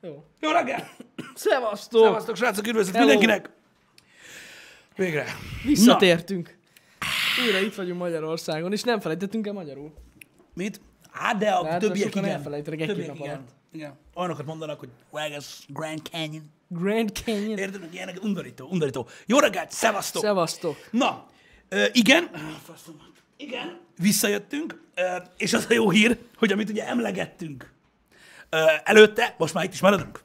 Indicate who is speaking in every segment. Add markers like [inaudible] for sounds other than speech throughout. Speaker 1: Jó.
Speaker 2: Jó reggel!
Speaker 1: Szevasztok!
Speaker 2: Szevasztok, srácok, üdvözlet
Speaker 1: Hello.
Speaker 2: mindenkinek! Végre.
Speaker 1: Visszatértünk. Újra itt vagyunk Magyarországon, és nem felejtettünk el magyarul.
Speaker 2: Mit? Hát de a
Speaker 1: Hát,
Speaker 2: többiek
Speaker 1: sokan
Speaker 2: igen.
Speaker 1: elfelejtenek egy két
Speaker 2: többiek
Speaker 1: nap
Speaker 2: igen.
Speaker 1: alatt.
Speaker 2: igen. Olyanokat mondanak, hogy Vegas, Grand Canyon.
Speaker 1: Grand Canyon.
Speaker 2: Érted, hogy ilyenek undorító, undorító. Jó reggelt, szevasztok!
Speaker 1: Szevasztok.
Speaker 2: Na, ö, igen, faszom. igen, visszajöttünk, ö, és az a jó hír, hogy amit ugye emlegettünk ö, előtte, most már itt is maradunk.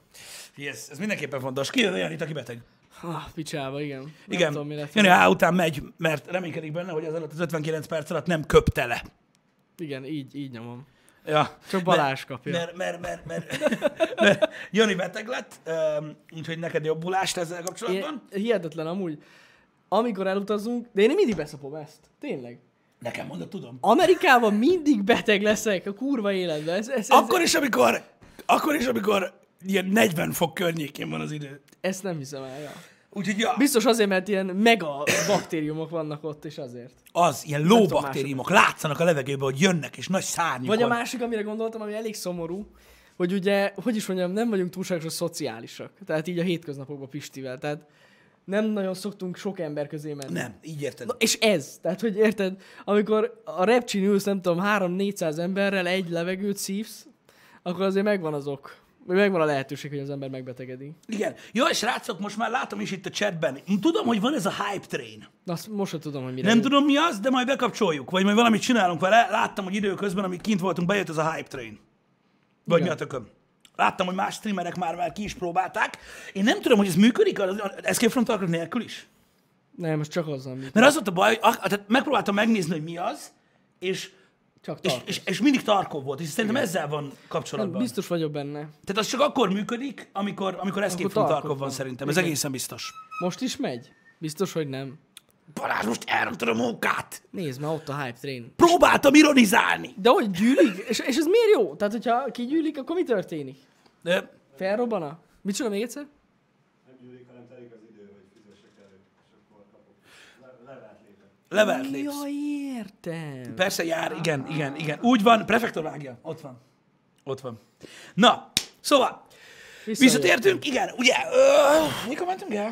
Speaker 2: Yes, ez mindenképpen fontos. Kijön olyan itt, aki beteg.
Speaker 1: Ah, picsába, igen. Nem
Speaker 2: Igen.
Speaker 1: Tudom, mi lett.
Speaker 2: Jani A után megy, mert reménykedik benne, hogy az alatt az 59 perc alatt nem köpte le.
Speaker 1: Igen, így, így nyomom.
Speaker 2: Ja.
Speaker 1: Csak Balázs kapja.
Speaker 2: Mert, mert, mert, mert, [laughs] mert Jani beteg lett, öm, úgyhogy neked jobbulást ezzel kapcsolatban.
Speaker 1: Én, hihetetlen amúgy. Amikor elutazunk, de én mindig beszopom ezt. Tényleg.
Speaker 2: Nekem mondod, tudom.
Speaker 1: Amerikában mindig beteg leszek a kurva életben. Ez, ez, ez,
Speaker 2: Akkor is, amikor, akkor is, amikor ilyen 40 fok környékén van az idő.
Speaker 1: ezt nem hiszem el. Ja.
Speaker 2: Úgyhogy ja,
Speaker 1: Biztos azért, mert ilyen mega baktériumok vannak ott, és azért.
Speaker 2: az ilyen lóbaktériumok látszanak a levegőben, hogy jönnek, és nagy szárnyukon.
Speaker 1: Vagy a másik, amire gondoltam, ami elég szomorú, hogy ugye, hogy is mondjam, nem vagyunk túlságosan szociálisak. Tehát így a hétköznapokban Pistivel. Tehát nem nagyon szoktunk sok ember közé menni.
Speaker 2: Nem, így érted.
Speaker 1: Na, és ez, tehát hogy érted, amikor a repcsin ülsz, nem tudom, 3-400 emberrel egy levegőt szívsz, akkor azért megvan az ok. Vagy Megvan a lehetőség, hogy az ember megbetegedik.
Speaker 2: Igen. Jó, és srácok, most már látom is itt a chatben. Tudom, hogy van ez a hype train.
Speaker 1: Na, azt most sem tudom, hogy mire
Speaker 2: Nem
Speaker 1: jó.
Speaker 2: tudom mi az, de majd bekapcsoljuk, vagy majd valamit csinálunk vele. Láttam, hogy időközben, amíg kint voltunk, bejött ez a hype train. Vagy mi
Speaker 1: Igen.
Speaker 2: a tököm. Láttam, hogy más streamerek már, már ki is próbálták. Én nem tudom, hogy ez működik az az Escape from Tarkov nélkül is.
Speaker 1: Nem, most csak azzal mi.
Speaker 2: Mert az volt a baj, hogy ak- tehát megpróbáltam megnézni, hogy mi az, és,
Speaker 1: Csak
Speaker 2: és,
Speaker 1: tartok.
Speaker 2: és, és mindig Tarkov volt, és szerintem ezzel van kapcsolatban.
Speaker 1: Biztos vagyok benne.
Speaker 2: Tehát az csak akkor működik, amikor, amikor Escape
Speaker 1: Akkor
Speaker 2: from Tarkov,
Speaker 1: Tarkov
Speaker 2: van
Speaker 1: van.
Speaker 2: szerintem. Ez
Speaker 1: Igen.
Speaker 2: egészen biztos.
Speaker 1: Most is megy? Biztos, hogy nem.
Speaker 2: Balázs, most elrontod a munkát!
Speaker 1: Nézd már ott a hype train.
Speaker 2: Próbáltam ironizálni!
Speaker 1: De hogy gyűlik? És, és ez miért jó? Tehát, hogyha kigyűlik, akkor mi történik?
Speaker 2: De
Speaker 1: Felrobbana? Mit csinál még egyszer?
Speaker 3: Nem gyűlik, hanem telik az idő, hogy fizessek elő, és akkor kapok. Le, levált lépek.
Speaker 2: levelt lépsz.
Speaker 1: Ja, értem.
Speaker 2: Persze jár, igen, igen, igen. Úgy van, prefektor vágja. Ott van. Ott van. Na, szóval, visszatértünk, igen, ugye, ö, mikor mentünk el?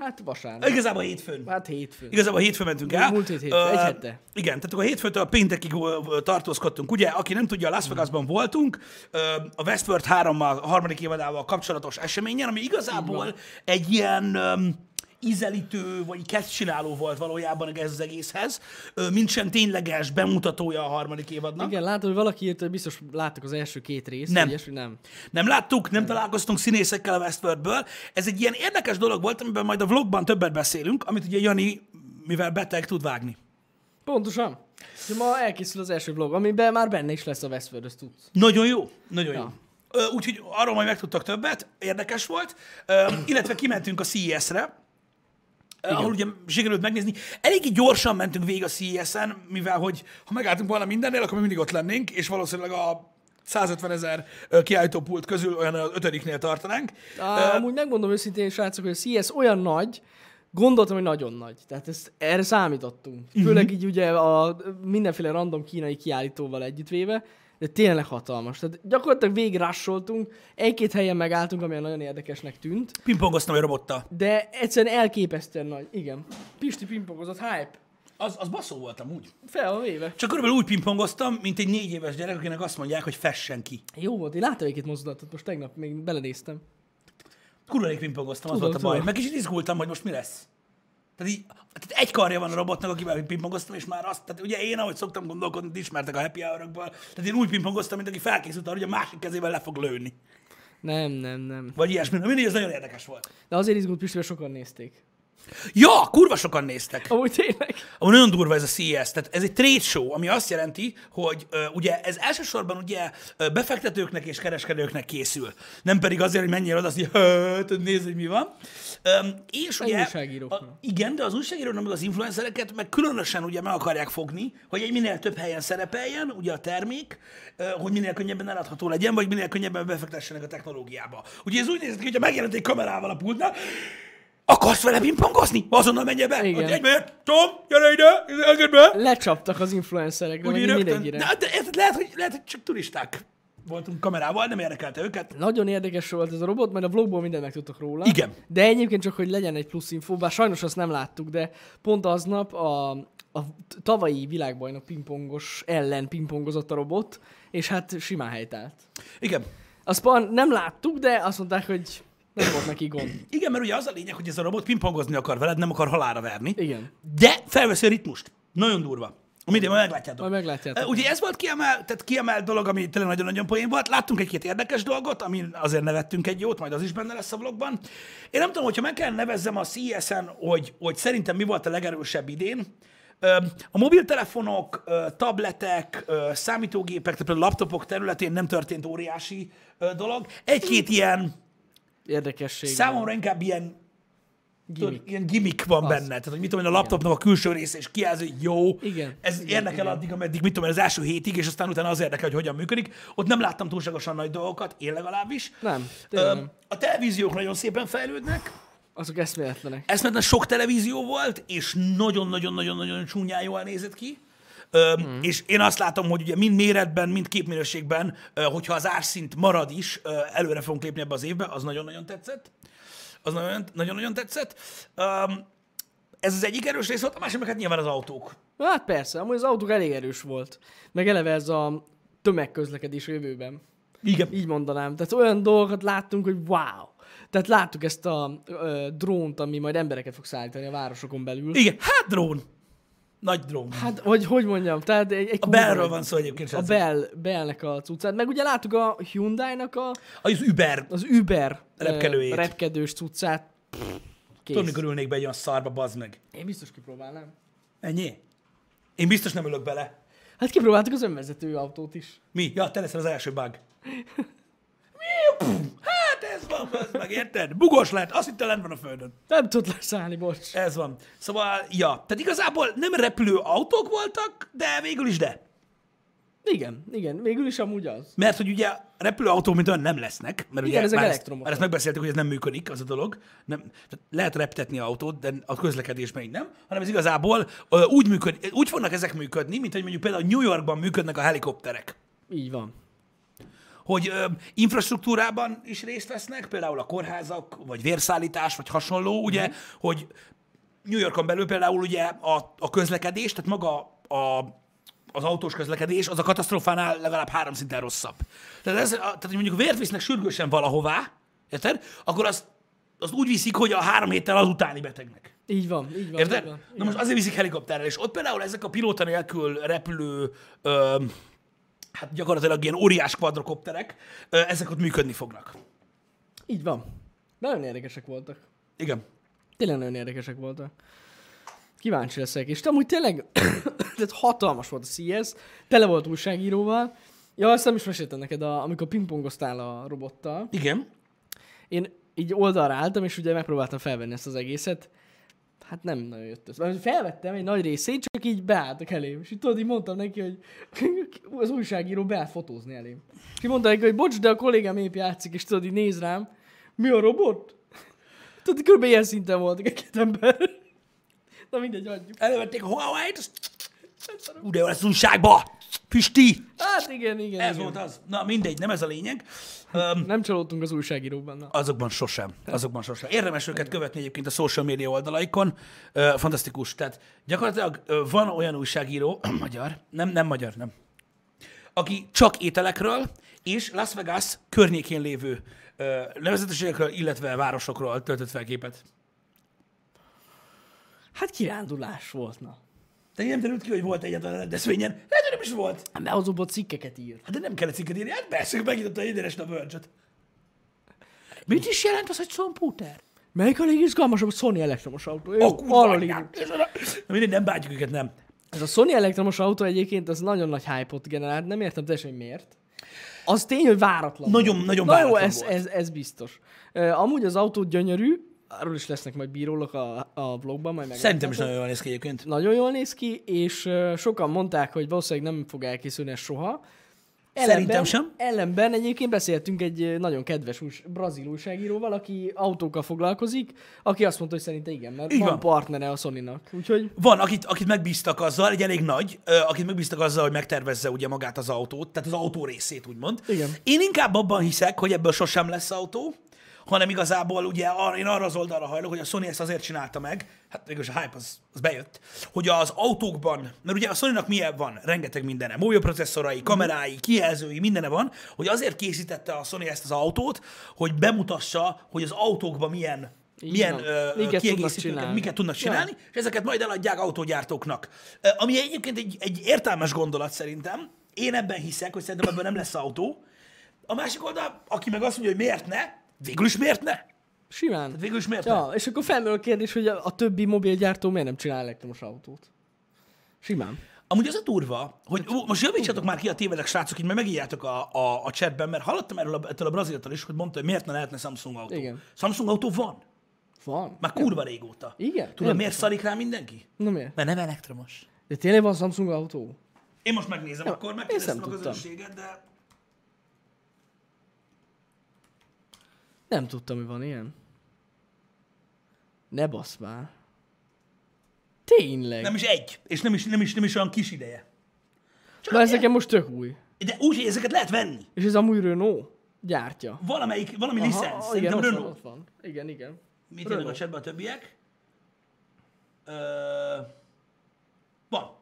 Speaker 1: Hát vasárnap.
Speaker 2: Igazából hétfőn.
Speaker 1: Hát hétfőn.
Speaker 2: Igazából hétfőn mentünk el.
Speaker 1: Múlt hét hétfő,
Speaker 2: Ö,
Speaker 1: egy hette.
Speaker 2: Igen, tehát akkor hétfőtől a péntekig ö, ö, tartózkodtunk. Ugye, aki nem tudja, Las Vegasban voltunk, ö, a Westworld 3 harmadik évadával kapcsolatos eseményen, ami igazából egy ilyen öm, ízelítő, vagy kezdcsináló volt valójában ez az egészhez, ö, mint sem tényleges bemutatója a harmadik évadnak.
Speaker 1: Igen, látod, hogy valaki írt, hogy biztos láttak az első két részt.
Speaker 2: Nem.
Speaker 1: Ilyesmi, nem.
Speaker 2: Nem láttuk, nem találkoztunk színészekkel a Westworldből. Ez egy ilyen érdekes dolog volt, amiben majd a vlogban többet beszélünk, amit ugye Jani, mivel beteg, tud vágni.
Speaker 1: Pontosan. De ma elkészül az első vlog, amiben már benne is lesz a Westworld, azt tudsz.
Speaker 2: Nagyon jó, nagyon jó. Ö, Úgyhogy arról majd megtudtak többet, érdekes volt. Ö, Illetve kimentünk a CES-re, ö, ahol ugye sikerült megnézni. Eléggé gyorsan mentünk végig a CES-en, mivel hogy ha megálltunk volna mindennél, akkor mi mindig ott lennénk, és valószínűleg a 150 ezer kiállítópult közül olyan az ötödiknél tartanánk.
Speaker 1: Á, amúgy megmondom őszintén, srácok, hogy a CS olyan nagy, gondoltam, hogy nagyon nagy. Tehát ezt, erre számítottunk. Főleg így ugye a mindenféle random kínai kiállítóval együttvéve, de tényleg hatalmas. Tehát gyakorlatilag végig rassoltunk, egy-két helyen megálltunk, ami nagyon érdekesnek tűnt,
Speaker 2: Pingpongoztam egy robottal.
Speaker 1: de egyszerűen elképesztően nagy. Igen. Pisti pingpongozott hype.
Speaker 2: Az, az baszó voltam úgy.
Speaker 1: Fel van véve.
Speaker 2: Csak körülbelül úgy pingpongoztam, mint egy négy éves gyerek, akinek azt mondják, hogy fessen ki.
Speaker 1: Jó volt, én láttam egy-két mozdulatot, most tegnap még belenéztem.
Speaker 2: Kurva rég pingpongoztam, az
Speaker 1: Tudom,
Speaker 2: volt a baj.
Speaker 1: tudom.
Speaker 2: Meg kicsit izgultam, hogy most mi lesz. Tehát, így, tehát egy karja van a robotnak, akivel pingpongoztam, és már azt, tehát ugye én, ahogy szoktam gondolkodni, ti ismertek a happy hour tehát én úgy pingpongoztam, mint aki felkészült arra, hogy a másik kezével le fog lőni.
Speaker 1: Nem, nem, nem.
Speaker 2: Vagy ilyesmi. Na, Mindig ez nagyon érdekes volt.
Speaker 1: De azért izgult Pisti, mert sokan nézték.
Speaker 2: Ja, kurva sokan néztek.
Speaker 1: Amúgy tényleg.
Speaker 2: Ahol nagyon durva ez a CES, tehát ez egy trade show, ami azt jelenti, hogy ö, ugye ez elsősorban ugye ö, befektetőknek és kereskedőknek készül, nem pedig azért, hogy menjél oda, azt így, "Hö, tudod, nézd, hogy mi van. Öm, és
Speaker 1: Meg
Speaker 2: ugye,
Speaker 1: újságíróknak.
Speaker 2: a- igen, de az újságíróknak, meg az influencereket meg különösen ugye meg akarják fogni, hogy egy minél több helyen szerepeljen, ugye a termék, ö, hogy minél könnyebben eladható legyen, vagy minél könnyebben befektessenek a technológiába. Ugye ez úgy nézett ki, hogyha megjelent egy kamerával a pultnál, akarsz vele pingpongozni? Azonnal menj be!
Speaker 1: Igen.
Speaker 2: Ott Egybe jött, Tom, gyere ide, engedd be!
Speaker 1: lecsaptak az influencerekre,
Speaker 2: Úgy
Speaker 1: meg
Speaker 2: így
Speaker 1: így
Speaker 2: rögtön,
Speaker 1: mindenkire.
Speaker 2: de, de, érted, lehet, hogy, lehet, hogy csak turisták voltunk kamerával, nem érdekelte őket.
Speaker 1: Nagyon érdekes volt ez a robot, mert a vlogból mindent megtudtak róla.
Speaker 2: Igen.
Speaker 1: De egyébként csak, hogy legyen egy plusz info, bár sajnos azt nem láttuk, de pont aznap a, a tavalyi világbajnok pingpongos ellen pingpongozott a robot, és hát simán helytált.
Speaker 2: Igen.
Speaker 1: Azt pa- nem láttuk, de azt mondták, hogy nem volt neki gond.
Speaker 2: Igen, mert ugye az a lényeg, hogy ez a robot pingpongozni akar veled, nem akar halára verni.
Speaker 1: Igen.
Speaker 2: De felveszi a ritmust. Nagyon durva. Mindig, majd meglátjátok.
Speaker 1: Majd meglátjátok.
Speaker 2: Ö, Ugye ez volt kiemel, tehát kiemel dolog, ami tényleg nagyon-nagyon poén volt. Láttunk egy-két érdekes dolgot, ami azért nevettünk egy jót, majd az is benne lesz a vlogban. Én nem tudom, hogyha meg kell nevezzem a CES-en, hogy, hogy szerintem mi volt a legerősebb idén. Ö, A mobiltelefonok, ö, tabletek, ö, számítógépek, tehát például laptopok területén nem történt óriási ö, dolog. Egy-két ilyen
Speaker 1: Érdekesség.
Speaker 2: Számomra inkább ilyen gimmick,
Speaker 1: Gimmick.
Speaker 2: ilyen gimmick van az. benne. Tehát, hogy mit tudom, én, a laptopnak a külső része is kijelző, hogy jó.
Speaker 1: Igen.
Speaker 2: Ez
Speaker 1: Igen,
Speaker 2: érdekel
Speaker 1: igen.
Speaker 2: addig, ameddig, mit tudom, én, az első hétig, és aztán utána az érdekel, hogy hogyan működik. Ott nem láttam túlságosan nagy dolgokat, én legalábbis.
Speaker 1: Nem, tényleg
Speaker 2: Ö,
Speaker 1: nem.
Speaker 2: a televíziók nagyon szépen fejlődnek.
Speaker 1: Azok eszméletlenek.
Speaker 2: Eszmetlen sok televízió volt, és nagyon-nagyon-nagyon-nagyon csúnyán jól nézett ki. Ö, mm. És én azt látom, hogy ugye mind méretben, mind képminőségben, ö, hogyha az árszint marad is, ö, előre fogunk lépni ebbe az évbe, az nagyon-nagyon tetszett. Az nagyon- nagyon-nagyon tetszett. Ö, ez az egyik erős rész volt, a másik meg hát nyilván az autók.
Speaker 1: Hát persze, amúgy az autók elég erős volt. Meg eleve ez a tömegközlekedés a jövőben.
Speaker 2: Igen.
Speaker 1: Így mondanám. Tehát olyan dolgokat láttunk, hogy wow. Tehát láttuk ezt a ö, drónt, ami majd embereket fog szállítani a városokon belül.
Speaker 2: Igen, hát drón. Nagy drón.
Speaker 1: Hát, vagy hogy mondjam, tehát egy, egy
Speaker 2: A Bellről van szó egyébként.
Speaker 1: A
Speaker 2: srácok.
Speaker 1: Bell, Bellnek a cuccát. Meg ugye láttuk a Hyundai-nak a,
Speaker 2: Az Uber.
Speaker 1: az Uber ö,
Speaker 2: Repkedőjét.
Speaker 1: repkedős cuccát. Kész.
Speaker 2: Tudom, mikor ülnék be egy olyan szarba, bazd meg.
Speaker 1: Én biztos kipróbálnám.
Speaker 2: Ennyi? Én biztos nem ülök bele.
Speaker 1: Hát kipróbáltuk az önvezető autót is.
Speaker 2: Mi? Ja, te leszel az első bug. Hát ez van, ez meg érted? Bugos lehet, azt hittem lent van a földön.
Speaker 1: Nem tud leszállni, bocs.
Speaker 2: Ez van. Szóval, ja. Tehát igazából nem repülő autók voltak, de végül is de.
Speaker 1: Igen, igen, végül is amúgy az.
Speaker 2: Mert hogy ugye repülő autók mint olyan nem lesznek, mert ugye
Speaker 1: Igen, ezek
Speaker 2: már ezt,
Speaker 1: elektromosak.
Speaker 2: már ezt megbeszéltük, hogy ez nem működik, az a dolog. Nem, tehát lehet reptetni autót, de a közlekedésben így nem, hanem ez igazából ö, úgy, működ, úgy fognak ezek működni, mint hogy mondjuk például New Yorkban működnek a helikopterek.
Speaker 1: Így van.
Speaker 2: hogy ö, infrastruktúrában is részt vesznek, például a kórházak, vagy vérszállítás, vagy hasonló, ugye, hogy New Yorkon belül például ugye a, a közlekedés, tehát maga a, az autós közlekedés, az a katasztrófánál legalább három szinten rosszabb. Tehát, ez, a, tehát hogy mondjuk vért visznek sürgősen valahová, érted? Akkor azt, azt úgy viszik, hogy a három héttel az utáni betegnek.
Speaker 1: Így van, így van. Így
Speaker 2: Érted?
Speaker 1: van.
Speaker 2: Na most azért viszik helikopterrel, és ott például ezek a pilóta nélkül repülő, ö, hát gyakorlatilag ilyen óriás kvadrokopterek, ö, ezek ott működni fognak.
Speaker 1: Így van. Nagyon érdekesek voltak.
Speaker 2: Igen.
Speaker 1: Tényleg nagyon érdekesek voltak. Kíváncsi leszek. És amúgy tényleg [coughs] tehát hatalmas volt a CS, tele volt újságíróval. Ja, azt nem is meséltem neked, a, amikor pingpongoztál a robottal.
Speaker 2: Igen.
Speaker 1: Én így oldalra álltam, és ugye megpróbáltam felvenni ezt az egészet. Hát nem nagyon jött össze. Mert Felvettem egy nagy részét, csak így beálltak elém. És így tudod, így mondtam neki, hogy [laughs] az újságíró beállt fotózni elém. És így mondta neki, hogy bocs, de a kollégám épp játszik, és tudod, így néz rám. Mi a robot? [laughs] Tudod, kb. ilyen szinten voltak egy két ember. [laughs] Na mindegy, hagyjuk.
Speaker 2: Elővették a Huawei-t, azt- ú, de jó lesz újságba! Pisti!
Speaker 1: Hát igen, igen.
Speaker 2: Ez
Speaker 1: igen.
Speaker 2: volt az. Na mindegy, nem ez a lényeg. Öm,
Speaker 1: Nem csalódtunk az újságíróban. Na.
Speaker 2: Azokban sosem. Azokban sosem. Érdemes őket követni egyébként a social media oldalaikon. Ö, Fantasztikus. Tehát gyakorlatilag ö, van olyan újságíró, [clears throat] magyar, nem, nem magyar, nem, aki csak ételekről és Las Vegas környékén lévő ö, nevezetességekről, illetve városokról töltött fel képet.
Speaker 1: Hát kirándulás volt, na.
Speaker 2: De nem derült ki, hogy volt egyetlen rendezvényen. Hát de nem is volt.
Speaker 1: Behozóban cikkeket ír.
Speaker 2: Hát de nem kellett cikket írni. Hát persze, megnyitotta egyenes a bölcsöt. Mit is jelent az, hogy szomputer?
Speaker 1: Melyik a legizgalmasabb? A Sony elektromos autó. Jó,
Speaker 2: A kurva
Speaker 1: arról
Speaker 2: anyád.
Speaker 1: írunk.
Speaker 2: Na mindegy, nem bántjuk őket, nem.
Speaker 1: Ez a Sony elektromos autó egyébként az nagyon nagy hype-ot generált, nem értem teljesen, hogy miért. Az tény, hogy váratlan.
Speaker 2: Nagyon-
Speaker 1: volt.
Speaker 2: nagyon
Speaker 1: Na
Speaker 2: váratlan
Speaker 1: jó, ez,
Speaker 2: volt.
Speaker 1: Ez, ez biztos. Ö, Amúgy az autó gyönyörű, arról is lesznek majd bírólok a, a blogban, majd meg.
Speaker 2: Szerintem is nagyon jól néz ki egyébként.
Speaker 1: Nagyon jól néz ki, és ö, sokan mondták, hogy valószínűleg nem fog elkészülni ez soha,
Speaker 2: Szerintem sem.
Speaker 1: Ellenben egyébként beszéltünk egy ö, nagyon kedves ús, brazil újságíróval, aki autókkal foglalkozik, aki azt mondta, hogy szerinte igen, mert
Speaker 2: Így
Speaker 1: van,
Speaker 2: van.
Speaker 1: partnere a sony Úgyhogy
Speaker 2: Van, akit, akit megbíztak azzal, egy elég nagy, ö, akit megbíztak azzal, hogy megtervezze ugye magát az autót, tehát az autó részét úgymond.
Speaker 1: Igen.
Speaker 2: Én inkább abban hiszek, hogy ebből sosem lesz autó, hanem igazából ugye ar- én arra az oldalra hajlok, hogy a Sony ezt azért csinálta meg, hát mégis a hype az, az bejött, hogy az autókban, mert ugye a Sony-nak milyen van? Rengeteg mindene, mobil processzorai, kamerái, kijelzői, mindene van, hogy azért készítette a Sony ezt az autót, hogy bemutassa, hogy az autókban milyen,
Speaker 1: Így
Speaker 2: milyen
Speaker 1: van.
Speaker 2: ö,
Speaker 1: Miket tudnak
Speaker 2: kiegészítőket,
Speaker 1: csinálni.
Speaker 2: miket tudnak
Speaker 1: Ja.
Speaker 2: csinálni, és ezeket majd eladják autógyártóknak. Ö, Ami egyébként egy, egy értelmes gondolat szerintem. Én ebben hiszek, hogy szerintem ebből nem lesz autó. A másik oldal, aki meg azt mondja, hogy miért ne, végül is miért ne? Hát
Speaker 1: simán.
Speaker 2: Végül is miért ne?
Speaker 1: Ja, és akkor felmerül a kérdés, hogy a, a többi mobilgyártó miért nem csinál elektromos autót. Simán.
Speaker 2: Amúgy az a durva,
Speaker 1: Hát-
Speaker 2: hogy ó, most javítsatok már ki a tévedek, srácok, így majd megírjátok a, a, a chatben, mert hallottam erről a, ettől a braziltól is, hogy mondta, hogy miért ne lehetne Samsung autó.
Speaker 1: Igen.
Speaker 2: Samsung autó van.
Speaker 1: Van.
Speaker 2: Már kurva régóta.
Speaker 1: Igen?
Speaker 2: Tudod,
Speaker 1: Nem
Speaker 2: miért szarik rá mindenki?
Speaker 1: Na miért?
Speaker 2: Mert nem elektromos.
Speaker 1: De tényleg van Samsung autó?
Speaker 2: Én most megnézem,
Speaker 1: Ja,
Speaker 2: akkor
Speaker 1: én
Speaker 2: megkérdeztem
Speaker 1: sem
Speaker 2: a
Speaker 1: tudtam.
Speaker 2: közönséget, de
Speaker 1: Nem tudtam, hogy van ilyen. Ne basz már. Tényleg.
Speaker 2: Nem
Speaker 1: Nem,
Speaker 2: is egy, és nem is, nem is, nem is olyan kis ideje. Csak
Speaker 1: Na ez nekem most tök új.
Speaker 2: De úgy, hogy ezeket lehet venni.
Speaker 1: És ez amúgy Renault gyártja.
Speaker 2: Valamelyik, valami licensz. Szerintem
Speaker 1: igen, ott van,
Speaker 2: Renault.
Speaker 1: Ott van. Igen, igen.
Speaker 2: Mit jönnek a
Speaker 1: Renault.
Speaker 2: csetben a többiek? Ö, van.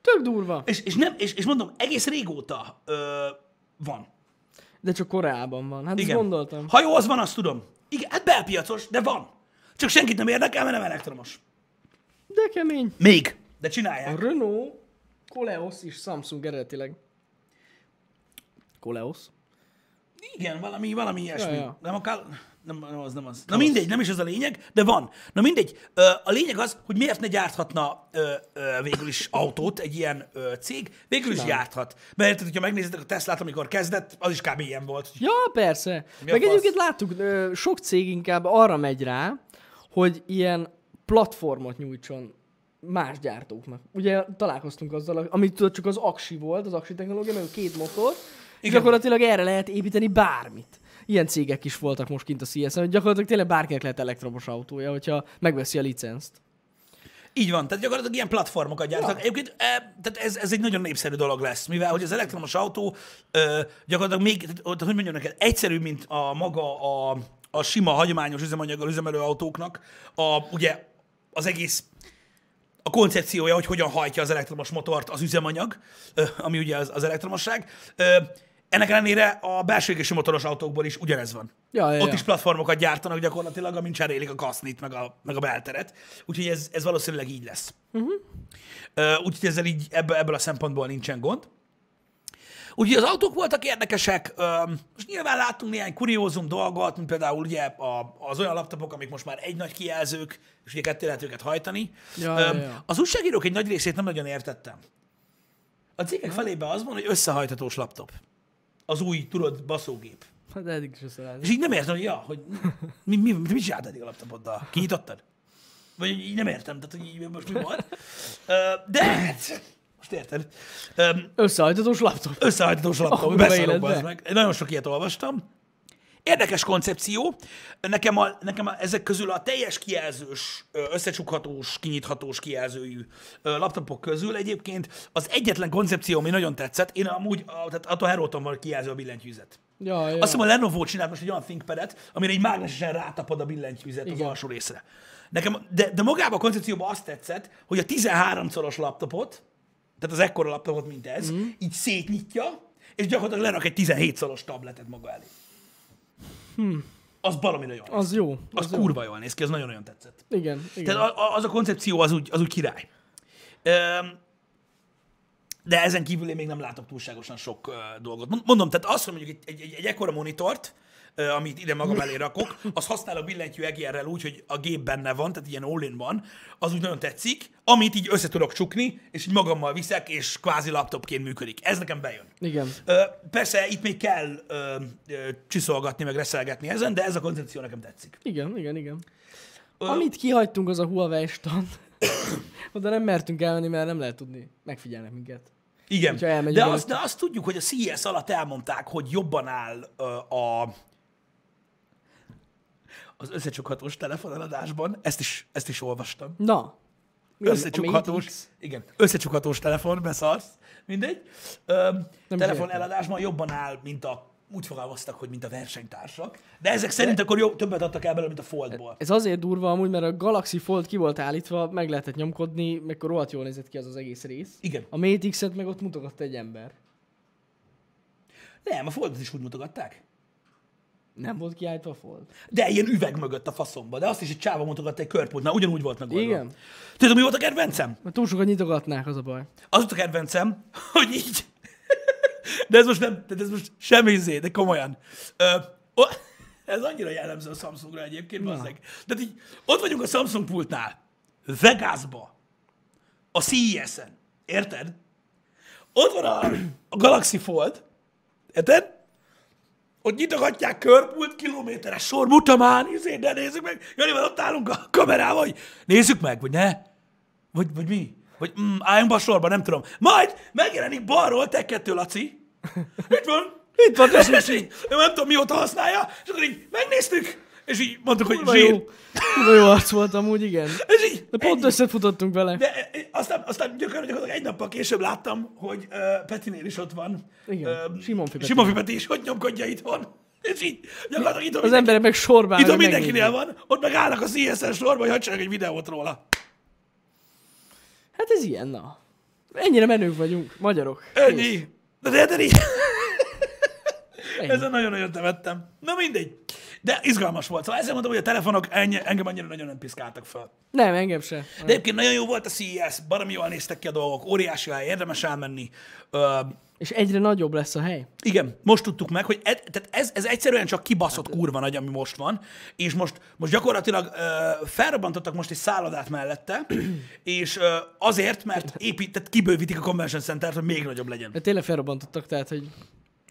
Speaker 1: Tök durva.
Speaker 2: És, és, nem, és, és mondom, egész régóta ö, van.
Speaker 1: De csak Koreában van. Hát ezt gondoltam.
Speaker 2: Ha jó, az van, azt tudom. Igen, hát belpiacos, de van. Csak senkit nem érdekel, mert nem elektromos.
Speaker 1: De kemény.
Speaker 2: Még. De
Speaker 1: A
Speaker 2: csinálják.
Speaker 1: Renault, Koleos és Samsung eredetileg. Koleos.
Speaker 2: Igen, valami, valami ilyesmi.
Speaker 1: ja.
Speaker 2: Nem akár... Nem, nem az, nem az. Na mindegy, nem is ez a lényeg, de van. Na mindegy, ö, a lényeg az, hogy miért ne gyárthatna ö, ö, végül is autót egy ilyen ö, cég, végül is gyárthat. Mert érted, hogyha megnézitek a Teslát, amikor kezdett, az is kb. ilyen volt.
Speaker 1: Ja, persze.
Speaker 2: Mi a
Speaker 1: Meg
Speaker 2: fasz?
Speaker 1: egyébként láttuk, ö, sok cég inkább arra megy rá, hogy ilyen platformot nyújtson más gyártóknak. Ugye találkoztunk azzal, amit tudod, csak az aksi volt, az aksi technológia, meg a két motor, és
Speaker 2: Igen.
Speaker 1: gyakorlatilag erre lehet építeni bármit. Ilyen cégek is voltak most kint a CS-en, hogy gyakorlatilag tényleg bárkinek lehet elektromos autója, hogyha megveszi a licenzt.
Speaker 2: Így van, tehát gyakorlatilag ilyen platformokat gyártanak. Ja. Egyébként e, tehát ez, ez egy nagyon népszerű dolog lesz, mivel hogy az elektromos autó ö, gyakorlatilag még, tehát, tehát hogy mondjam neked, egyszerű, mint a maga a, a sima, hagyományos üzemanyaggal üzemelő autóknak, a, ugye az egész a koncepciója, hogy hogyan hajtja az elektromos motort az üzemanyag, ö, ami ugye az, az elektromosság. Ö, ennek ellenére a belső égésű motoros autókból is ugyanez van.
Speaker 1: Ja, ja,
Speaker 2: Ott
Speaker 1: ja.
Speaker 2: is platformokat gyártanak gyakorlatilag, amin cserélik a kasznit, meg a, meg a belteret. Úgyhogy ez, ez valószínűleg így lesz.
Speaker 1: Mhm.
Speaker 2: Uh-huh. Úgyhogy ezzel így ebből, ebből a szempontból nincsen gond. Úgyhogy az autók voltak érdekesek, öm, most nyilván láttunk néhány kuriózum dolgot, mint például ugye a, az olyan laptopok, amik most már egy nagy kijelzők, és ugye ketté lehet őket hajtani.
Speaker 1: Ja,
Speaker 2: Öm,
Speaker 1: ja, ja.
Speaker 2: Az újságírók egy nagy részét nem nagyon értettem. A cikkek felében az van, hogy összehajtatós laptop. Az új, tudod, baszógép.
Speaker 1: Hát de eddig is összeállni.
Speaker 2: És így nem értem, hogy ja, hogy mi, mi, mi, mit csináltad eddig a laptopoddal? Kinyitottad? Vagy így nem értem, tehát hogy így most mi volt. Ö, De hát, most érted. Ö,
Speaker 1: Összehajtatós laptop.
Speaker 2: Összehajtatós laptop,
Speaker 1: Akkor
Speaker 2: oh, beszarok
Speaker 1: beéled,
Speaker 2: bazd
Speaker 1: de.
Speaker 2: meg. Én Nagyon sok ilyet olvastam. Érdekes koncepció. Nekem, a, nekem a, ezek közül a teljes kijelzős, ö, összecsukhatós, kinyithatós kijelzőjű ö, laptopok közül egyébként az egyetlen koncepció, ami nagyon tetszett, én amúgy, a, tehát attól Heróton van kijelző a billentyűzet.
Speaker 1: Ja, ja.
Speaker 2: Azt hiszem a Lenovo csinált most egy olyan ThinkPad-et, amire egy mágnesesen rátapad a billentyűzet az
Speaker 1: Igen.
Speaker 2: alsó részre. Nekem, de, de magában a koncepcióban azt tetszett, hogy a 13-szoros laptopot, tehát az ekkora laptopot, mint ez,
Speaker 1: Mhm.
Speaker 2: mm. így szétnyitja, és gyakorlatilag lerak egy 17-szoros tabletet maga elé. Hmm. Az baromira jól
Speaker 1: Hm.
Speaker 2: néz
Speaker 1: Az jó.
Speaker 2: Az,
Speaker 1: Az,
Speaker 2: az kurva jól néz ki, az nagyon-nagyon tetszett.
Speaker 1: igen, igen.
Speaker 2: Tehát a- a- az a koncepció az úgy, az úgy király. Öm, De ezen kívül én még nem látok túlságosan sok ö, dolgot. Mond- Mondom, tehát azt, hogy mondjuk egy, egy, egy, egy ekkora monitort, ö, amit ide magam elé rakok, az használ a billentyű egérrel úgy, hogy a gép benne van, tehát ilyen all van, az úgy nagyon tetszik, amit így össze tudok csukni, és így magammal viszek, és kvázi laptopként működik. Ez nekem bejön.
Speaker 1: Igen.
Speaker 2: Ö, Persze itt még kell ö, ö, csiszolgatni, meg reszelgetni ezen, de ez a koncepció nekem tetszik.
Speaker 1: Igen, igen, igen. Amit kihagytunk, [coughs] az a Huawei stand. Oda nem mertünk elmenni, mert nem lehet tudni. Megfigyelnek minket.
Speaker 2: Igen,
Speaker 1: Hogyha elmegy
Speaker 2: de
Speaker 1: előtt.
Speaker 2: azt, de azt tudjuk, hogy a CES alatt elmondták, hogy jobban áll ö, a az összecsukhatós telefoneladásban, ezt is, ezt is olvastam.
Speaker 1: Na. Mi az? A Matrix?
Speaker 2: Összecsukhatós, igen, összecsukhatós telefon, beszarsz, mindegy. Öm,
Speaker 1: Nem
Speaker 2: telefon
Speaker 1: értem.
Speaker 2: eladásban jobban áll, mint a, úgy fogalmaztak, hogy mint a versenytársak, de ezek szerint akkor jó, többet adtak el belőle, mint a Foldból.
Speaker 1: Ez azért durva amúgy, mert a Galaxy Fold ki volt állítva, meg lehetett nyomkodni, meg akkor rohadt jól nézett ki az az egész rész.
Speaker 2: Igen.
Speaker 1: A Matrix-et meg ott mutogatta egy ember.
Speaker 2: Nem, a Foldot is úgy mutogatták.
Speaker 1: Nem volt kiállítva a Fold.
Speaker 2: De ilyen üveg mögött a faszomba, de azt is egy csáva mutogatta egy körpótnál, ugyanúgy volt meg
Speaker 1: Igen.
Speaker 2: Tudod, mi volt a kedvencem?
Speaker 1: Mert túl sokat nyitogatnák, az a baj.
Speaker 2: Az volt a kedvencem, [laughs] hogy így. De ez most nem, tehát ez most semmi izé, de komolyan. Ö, o, [laughs] ez annyira jellemző a Samsungra egyébként, bazzeg. Tehát így ott vagyunk a Samsung pultnál, Vegasba, a CES-en, érted? Ott van a, a Galaxy Fold, érted? Ott nyitogatják körpult kilométeres sor, mutamán, izé, de nézzük meg. Jani, van ott állunk a kamerával, hogy nézzük meg, vagy ne? Vagy, vagy mi? Vagy mm, álljunk be a sorba, nem tudom. Majd megjelenik balról te kettő, Laci. Itt van. Itt van, és így, ő nem tudom mióta használja, és akkor így megnéztük, és így mondtuk, hogy
Speaker 1: Kurva
Speaker 2: zsír.
Speaker 1: jó. Kurva jó arc volt amúgy, igen.
Speaker 2: És így,
Speaker 1: De pont összefutottunk vele.
Speaker 2: de e, e, aztán, aztán gyakorlatilag gyakorlatilag egy nappal később láttam, hogy uh, Petinél is ott van.
Speaker 1: Igen,
Speaker 2: Ö,
Speaker 1: Simonfi Peti.
Speaker 2: Simonfi Peti is ott nyomkodja itthon. És így gyakorlatilag itt
Speaker 1: Az emberek meg sorban
Speaker 2: itt
Speaker 1: állnak,
Speaker 2: mindenkinél
Speaker 1: megnézik.
Speaker 2: van, ott meg állnak a CSN sorba, hogy hagysanak egy videót róla.
Speaker 1: Hát ez ilyen, na. Ennyire menők vagyunk, magyarok. Kész.
Speaker 2: Ennyi. De de, de így.
Speaker 1: Ennyi.
Speaker 2: Ezen nagyon-nagyon temettem. Na mindegy. De izgalmas volt. Szóval ezzel mondom, hogy a telefonok ennyi, engem annyira nagyon nem piszkáltak fel.
Speaker 1: Nem, engem se.
Speaker 2: De egyébként nagyon jó volt a CES, baromi jól néztek ki a dolgok, óriási hely, érdemes elmenni. Ö,
Speaker 1: És egyre nagyobb lesz a hely.
Speaker 2: Igen, most tudtuk meg, hogy ed, tehát ez, ez egyszerűen csak kibaszott
Speaker 1: Hát,
Speaker 2: kurva nagy, ami most van, és most, most gyakorlatilag ö, felrobbantottak most egy szállodát
Speaker 1: [clears throat]
Speaker 2: mellette, és ö, azért, mert épít, tehát kibővítik a Convention Centert, hogy még nagyobb legyen.
Speaker 1: De Hát tényleg felrobbantottak, tehát, hogy...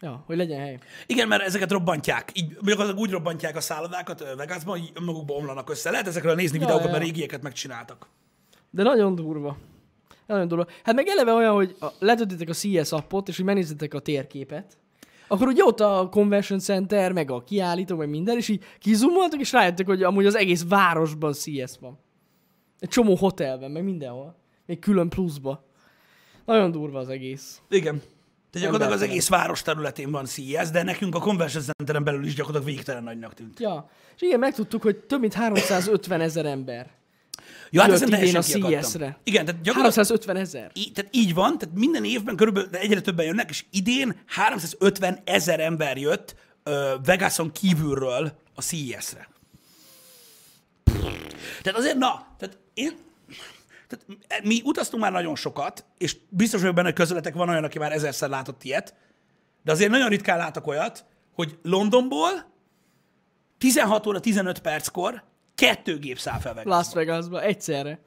Speaker 1: Ja, hogy legyen hely.
Speaker 2: Igen, mert ezeket robbantják. Így, gyakorlatilag úgy robbantják a szállodákat ö, Vegasban, hogy magukba omlanak össze. Lehet ezekről nézni videókat,
Speaker 1: ja.
Speaker 2: mert régieket megcsináltak.
Speaker 1: De nagyon durva. Nagyon durva. Hát meg eleve olyan, hogy a- letöltitek a CS appot, és hogy megnézitek a térképet, akkor ugye ott a Convention Center, meg a kiállító, meg minden, és így kizumoltak, és rájöttek, hogy amúgy az egész városban CS van. Egy csomó hotelben, meg mindenhol. Még külön pluszba. Nagyon durva az egész.
Speaker 2: Igen. Tehát gyakorlatilag az
Speaker 1: Embertelen.
Speaker 2: egész város területén van CES, de nekünk a Convention Centeren belül is gyakorlatilag végtelen nagynak tűnt.
Speaker 1: Ja. És igen, megtudtuk, hogy több mint 350 ezer ember.
Speaker 2: Ja, hát
Speaker 1: Jött
Speaker 2: ezen
Speaker 1: idén
Speaker 2: teljesen
Speaker 1: a E
Speaker 2: kiakadtam.
Speaker 1: CES-re.
Speaker 2: Igen, tehát gyakorlatilag
Speaker 1: 350 ezer.
Speaker 2: Így, tehát így van, tehát minden évben körülbelül de egyre többen jönnek, és idén 350 ezer ember jött ö, Vegason kívülről a CES-re. Tehát azért, na, tehát én, tehát mi utaztunk már nagyon sokat, és biztos vagyok benne, hogy közöletek van olyan, aki már ezerszer látott ilyet, de azért nagyon ritkán látok olyat, hogy Londonból 16 óra 15 perckor kettő gép száll fel Vegasba.
Speaker 1: Las Vegasban, egyszerre.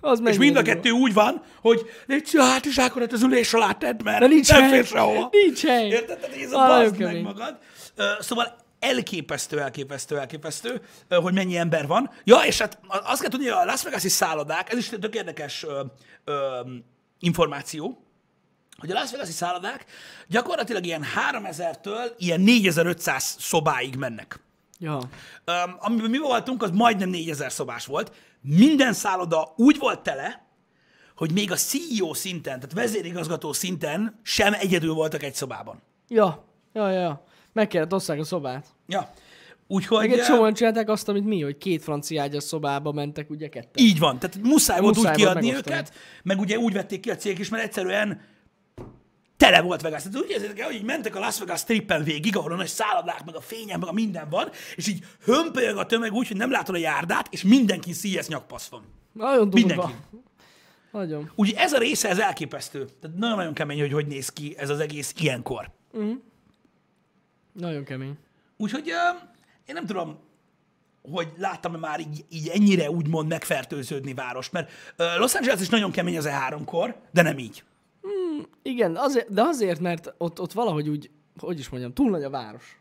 Speaker 1: Az
Speaker 2: És mind a
Speaker 1: mennyire
Speaker 2: kettő úgy van, hogy légy szíves, hát is ákorat az ülés alá tedd, mert
Speaker 1: De nincs
Speaker 2: nem
Speaker 1: hely.
Speaker 2: fér sehova.
Speaker 1: Nincs hely.
Speaker 2: Érted? Tehát ez a
Speaker 1: Ah, nagyon
Speaker 2: bazd meg
Speaker 1: kemény.
Speaker 2: magad. Ö, Szóval elképesztő, elképesztő, elképesztő, ö, hogy mennyi ember van. Ja, és hát a- azt kell tudni, hogy a Las Vegas-i szállodák, ez is tök érdekes ö, ö, információ, hogy a Las Vegas-i szállodák gyakorlatilag ilyen 3000-től ilyen 4500 szobáig mennek.
Speaker 1: durva. Ja.
Speaker 2: Um, amiben mi voltunk, az majdnem 4000 szobás volt. Minden szálloda úgy volt tele, hogy még a CEO szinten, tehát vezérigazgató szinten sem egyedül voltak egy szobában.
Speaker 1: Ja, ja, ja, ja. Meg kellett osszák a szobát.
Speaker 2: Ja. Úgyhogy
Speaker 1: Meg egy
Speaker 2: eh,
Speaker 1: csomóan csinálták azt, amit mi, hogy két francia ágyas szobába mentek ugye ketten.
Speaker 2: így van, tehát muszáj volt
Speaker 1: Muszáj
Speaker 2: úgy
Speaker 1: volt
Speaker 2: kiadni
Speaker 1: megosztani.
Speaker 2: őket, meg ugye úgy vették ki a cégek is, mert egyszerűen tele volt Vegas. Tehát úgy érzétek el, hogy így mentek a Las Vegas strippen végig, ahol a nagy szállodák, meg a fényem, meg a minden van, és így hömpölyög a tömeg úgy, hogy nem látod a járdát, és mindenki CS nyakpasz van.
Speaker 1: Nagyon durva.
Speaker 2: Mindenki.
Speaker 1: Nagyon.
Speaker 2: Ugye ez a része, ez elképesztő. Tehát nagyon-nagyon kemény, hogy hogy néz ki ez az egész ilyenkor.
Speaker 1: Nagyon kemény.
Speaker 2: Úgyhogy ö, én nem tudom, hogy láttam -e már így, így ennyire úgymond megfertőződni várost, mert ö, Los Angeles is nagyon kemény az E3-kor, de nem így.
Speaker 1: Igen, azért, de azért, mert ott, ott valahogy úgy, hogy is mondjam, túl nagy a város.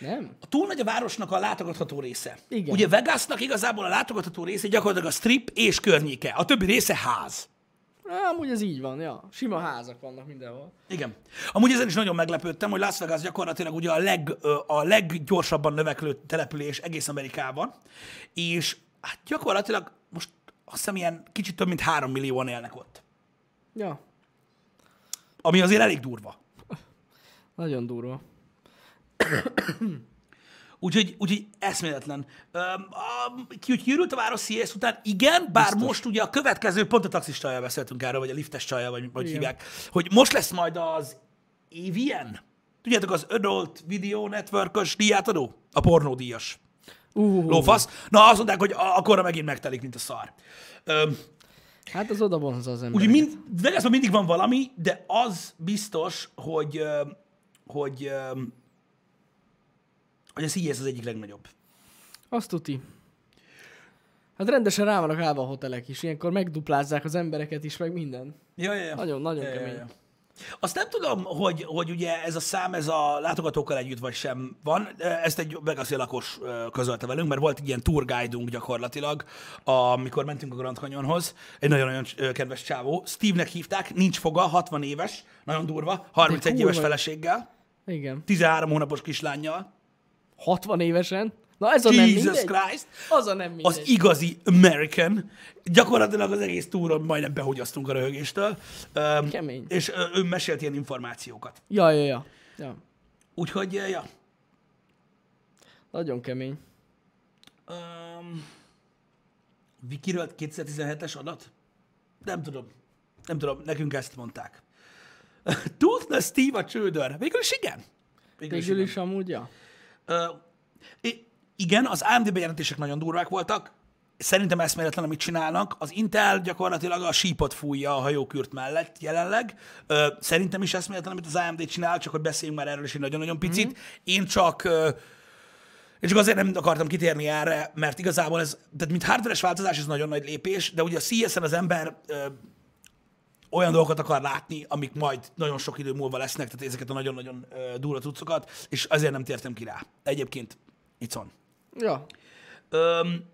Speaker 1: Nem?
Speaker 2: A túl nagy a városnak a látogatható része.
Speaker 1: Igen.
Speaker 2: Ugye Vegasnak igazából a látogatható része gyakorlatilag a strip és környéke, a többi része ház.
Speaker 1: Á, Amúgy ez így van, ja. Sima házak vannak mindenhol.
Speaker 2: Igen. Amúgy ezen is nagyon meglepődtem, hogy Las Vegas gyakorlatilag ugye a, leg, ö, a leggyorsabban növekvő település egész Amerikában, és hát gyakorlatilag most azt hiszem ilyen kicsit több mint három millióan élnek ott.
Speaker 1: Ja,
Speaker 2: Ami azért elég durva.
Speaker 1: nagyon durva.
Speaker 2: Úgyhogy, úgyhogy eszméletlen. Öm, a- ki- Hogy kiürült a város CS után, igen, bár Biztos. most ugye a következő, pont a taxis csajjal beszéltünk erről, vagy a liftes csajjal, vagy hogy
Speaker 1: Igen.
Speaker 2: hívják, hogy most lesz majd az Avian. Tudjátok, az Adult Video Network-ös díjátadó? A pornódíjas.
Speaker 1: Uh,
Speaker 2: Lófasz. Na, azt mondták, hogy a- akkorra megint megtelik, mint a szar. Öm,
Speaker 1: Hát az oda vonza az ember.
Speaker 2: Úgyhogy mind, Vegasban mindig van valami, de az biztos, hogy, ö, hogy, ö, hogy a CES az egyik legnagyobb.
Speaker 1: Azt tuti. Hát rendesen rá vannak állva a hotelek is, ilyenkor megduplázzák az embereket is, meg minden.
Speaker 2: Ja, ja, ja.
Speaker 1: Nagyon- nagyon kemény.
Speaker 2: Azt nem tudom, hogy, hogy ugye ez a szám, ez a látogatókkal együtt vagy sem van. Ezt egy Vegasi lakos ö, közölte velünk, mert volt egy ilyen tour guide-unk gyakorlatilag, amikor mentünk a Grand Canyonhoz. Egy nagyon-nagyon ö, kedves csávó. Steve-nek hívták, nincs foga, 60 éves, nagyon durva, 31 éves
Speaker 1: kurva.
Speaker 2: feleséggel,
Speaker 1: Igen.
Speaker 2: 13 hónapos kislányjal.
Speaker 1: 60 évesen? Na ez a nem
Speaker 2: Jesus
Speaker 1: mindegy.
Speaker 2: Christ!
Speaker 1: Az a nem mindegy.
Speaker 2: az igazi American. Gyakorlatilag az egész túron majdnem behogyasztunk a röhögéstől. Öm,
Speaker 1: Kemény.
Speaker 2: És ö, ő mesélt ilyen információkat.
Speaker 1: Ja, ja, ja, ja.
Speaker 2: Úgyhogy, ö, ja.
Speaker 1: Nagyon kemény.
Speaker 2: Um, Vikiről 2017-es adat? Nem tudom. Nem tudom, nekünk ezt mondták. [laughs] Tudna Steve a csődör? Végül is igen.
Speaker 1: Végül is amúgy, ja.
Speaker 2: Ö, i- igen, az AMD bejelentések nagyon durvák voltak. Szerintem eszméletlen, amit csinálnak. Az Intel gyakorlatilag a sípot fújja a hajókürt mellett jelenleg. Ö, szerintem is eszméletlen, amit az AMD csinál, csak hogy beszéljünk már erről is egy nagyon-nagyon picit. Én csak... Ö, és csak azért nem akartam kitérni erre, mert igazából ez, tehát mint hardveres változás, ez nagyon nagy lépés, de ugye a CS-en az ember ö, olyan dolgokat akar látni, amik majd nagyon sok idő múlva lesznek, tehát ezeket a nagyon-nagyon ö, durva cuccokat, és azért nem tértem ki rá. Egyébként, it's on.
Speaker 1: Ja.
Speaker 2: Öm,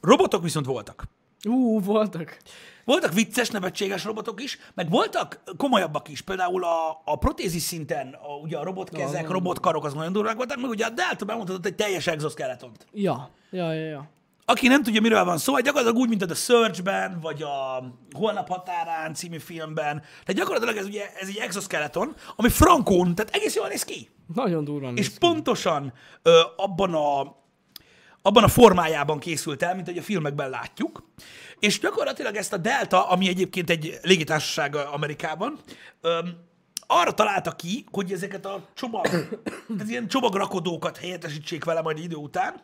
Speaker 2: robotok viszont voltak.
Speaker 1: Ú, voltak.
Speaker 2: Voltak vicces, nevetséges robotok is, meg voltak komolyabbak is, például a, a protézis szinten, a, ugye a robotkezek,
Speaker 1: nagyon
Speaker 2: robotkarok az nagyon durvák voltak, meg ugye a Delta bemutatott egy teljes exoskeletont.
Speaker 1: Ja. Ja, ja, ja.
Speaker 2: Aki nem tudja, miről van szó, hát gyakorlatilag úgy, mint a The Surge-ben, vagy a Holnap határán című filmben. Tehát gyakorlatilag ez ugye ez egy exoskeleton, ami frankón, tehát egész jól néz ki.
Speaker 1: Nagyon durva
Speaker 2: És pontosan ö, abban a abban a formájában készült el, mint hogy a filmekben látjuk. És gyakorlatilag ezt a Delta, ami egyébként egy légitársaság Amerikában, öm, arra találta ki, hogy ezeket a csomag, [coughs] tehát ilyen csomagrakodókat helyettesítsék vele majd idő után,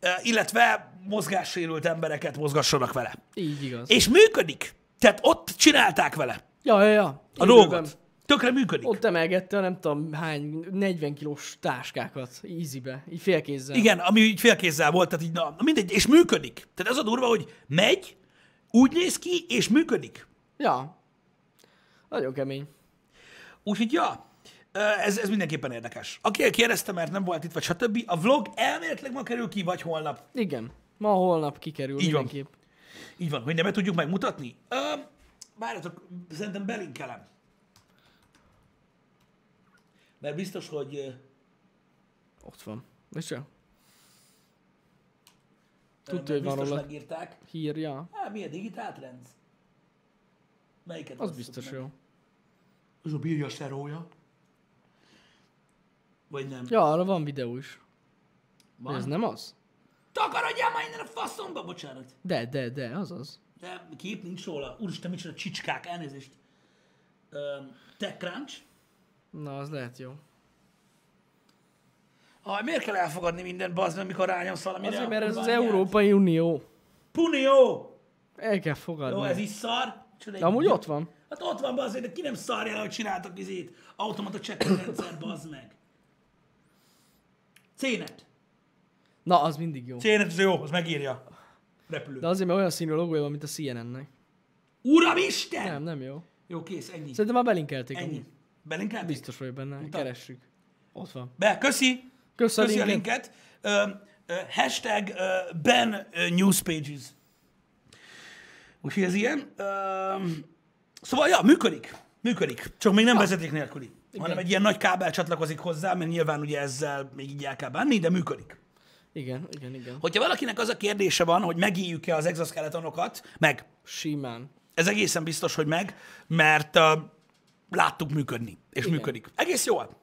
Speaker 2: ö, illetve mozgássérült embereket mozgassanak vele.
Speaker 1: Így igaz.
Speaker 2: És működik. Tehát ott csinálták vele
Speaker 1: Ja, ja, ja.
Speaker 2: a
Speaker 1: Időben.
Speaker 2: dolgot. Tökre működik.
Speaker 1: Ott emelgette a nem tudom hány 40 kilós táskákat easybe, így félkézzel.
Speaker 2: Igen, ami így félkézzel volt, tehát így, na, na mindegy, és működik. Tehát ez a durva, hogy megy, úgy néz ki, és működik.
Speaker 1: Ja. Nagyon kemény.
Speaker 2: Úgyhogy, ja, ö, ez, ez mindenképpen érdekes. Aki kérdezte, mert nem volt itt, vagy stb., a vlog elméletileg ma kerül ki, vagy holnap.
Speaker 1: Igen. Ma holnap kikerül
Speaker 2: Így van.
Speaker 1: mindenképp.
Speaker 2: Így van, hogy nem be tudjuk megmutatni. Ö, várjatok, szerintem belinkelem. Mert biztos, hogy... ö,
Speaker 1: Ott van. És csak
Speaker 2: mert
Speaker 1: hogy van
Speaker 2: biztos
Speaker 1: róla.
Speaker 2: megírták.
Speaker 1: hírja.
Speaker 2: Há, mi a digitált rend? Melyiket
Speaker 1: Az
Speaker 2: osztod
Speaker 1: biztos
Speaker 2: meg?
Speaker 1: jó.
Speaker 2: Az a bírja serója. Vagy nem.
Speaker 1: Ja, arra van videó is.
Speaker 2: Van.
Speaker 1: Ez nem az?
Speaker 2: Takarodjál már innen a faszomba, bocsánat.
Speaker 1: De, de, de, az az.
Speaker 2: De kép nincs róla. Úristen, micsoda csicskák, elnézést. Um, TechCrunch.
Speaker 1: Na, az lehet jó.
Speaker 2: Ah, miért kell elfogadni mindent, bazd meg, mikor rányomsz valamire?
Speaker 1: Azért,
Speaker 2: a
Speaker 1: mert ez az
Speaker 2: kurványát?
Speaker 1: Európai Unió.
Speaker 2: Punió!
Speaker 1: El kell
Speaker 2: Jó, ez
Speaker 1: fogadni.
Speaker 2: is szar. Csoda, egy-
Speaker 1: De amúgy ott van.
Speaker 2: Hát ott van, bazd meg, de ki nem szarja le, hogy csináltak izét. Automata check rendszer, bazd meg. Cénet.
Speaker 1: Na, az mindig jó.
Speaker 2: Cénet, az jó, az megírja. Repülő.
Speaker 1: De azért, mert olyan színű logója van, mint a CNN-nek.
Speaker 2: Uramisten!
Speaker 1: Nem, nem jó.
Speaker 2: Jó, kész, ennyi.
Speaker 1: Szerintem már belinkelték.
Speaker 2: Ennyi.
Speaker 1: amúgy.
Speaker 2: Belinkelték?
Speaker 1: Biztos vagyok benne. Keressük. Ott van.
Speaker 2: Be, köszi!
Speaker 1: Kösz a
Speaker 2: Köszi a
Speaker 1: linket.
Speaker 2: linket. Ö, ö, hashtag ö, Ben ö, Newspages. Úgyhogy ez ilyen. Öm, Szóval, ja, működik. Működik. Csak még nem
Speaker 1: Ah.
Speaker 2: vezeték nélküli. Hanem egy ilyen nagy kábel csatlakozik hozzá, mert nyilván ugye ezzel még így el kell bánni, de működik.
Speaker 1: Igen, igen, igen.
Speaker 2: Hogyha valakinek az a kérdése van, hogy megéljük-e az exoskeletonokat, meg
Speaker 1: Simán.
Speaker 2: ez egészen biztos, hogy meg, mert uh, láttuk működni, és Igen. működik. Egész jól.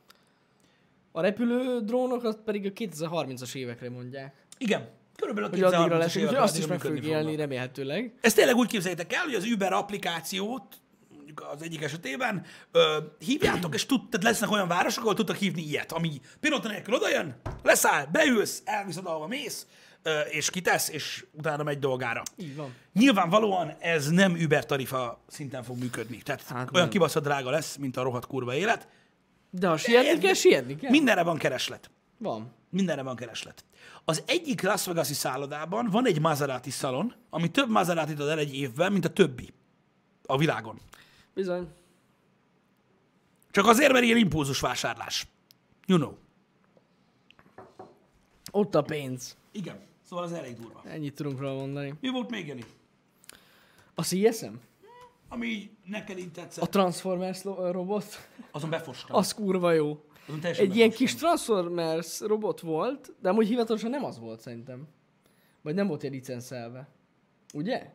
Speaker 1: A repülő drónokat pedig a 2030-as évekre mondják.
Speaker 2: Igen. Körülbelül a
Speaker 1: Hogy addigra lesz,
Speaker 2: 2030-as
Speaker 1: úgyhogy
Speaker 2: években
Speaker 1: azt is
Speaker 2: addigra
Speaker 1: meg fogjuk
Speaker 2: működni
Speaker 1: élni
Speaker 2: fognak.
Speaker 1: remélhetőleg.
Speaker 2: Ezt tényleg úgy képzeljétek el, hogy az Uber applikációt, mondjuk az egyik esetében, ö, hívjátok, és tud, tehát lesznek olyan városok, ahol tudtak hívni ilyet, ami pilóta nélkül odajön, leszáll, beülsz, elviszed, ahova mész, ö, és kitesz, és utána megy dolgára.
Speaker 1: Így van.
Speaker 2: Nyilvánvalóan ez nem Uber tarifa szinten fog működni. Tehát hát
Speaker 1: Hát
Speaker 2: olyan
Speaker 1: nem.
Speaker 2: kibaszott drága lesz, mint a rohadt kurva élet.
Speaker 1: De ha sietni kell, sietni kell.
Speaker 2: Mindenre van kereslet.
Speaker 1: Van.
Speaker 2: Mindenre van kereslet. Az egyik Las Vegas-i szállodában van egy Maserati szalon, ami több maserati ad el egy évben, mint a többi a világon.
Speaker 1: Bizony.
Speaker 2: Csak azért, mert ilyen impulzus vásárlás. You know.
Speaker 1: Ott a pénz.
Speaker 2: Igen. Szóval az elég durva.
Speaker 1: Ennyit tudunk róla mondani.
Speaker 2: Mi volt még, Jani?
Speaker 1: A CSM?
Speaker 2: Ami így neked így tetszett.
Speaker 1: A Transformers lo- robot?
Speaker 2: Azon befostam.
Speaker 1: Az kurva jó.
Speaker 2: Azon teljesen
Speaker 1: Egy ilyen
Speaker 2: befostam.
Speaker 1: kis Transformers robot volt, de amúgy hivatalosan nem az volt szerintem. Vagy nem volt ilyen licenszelve. Ugye?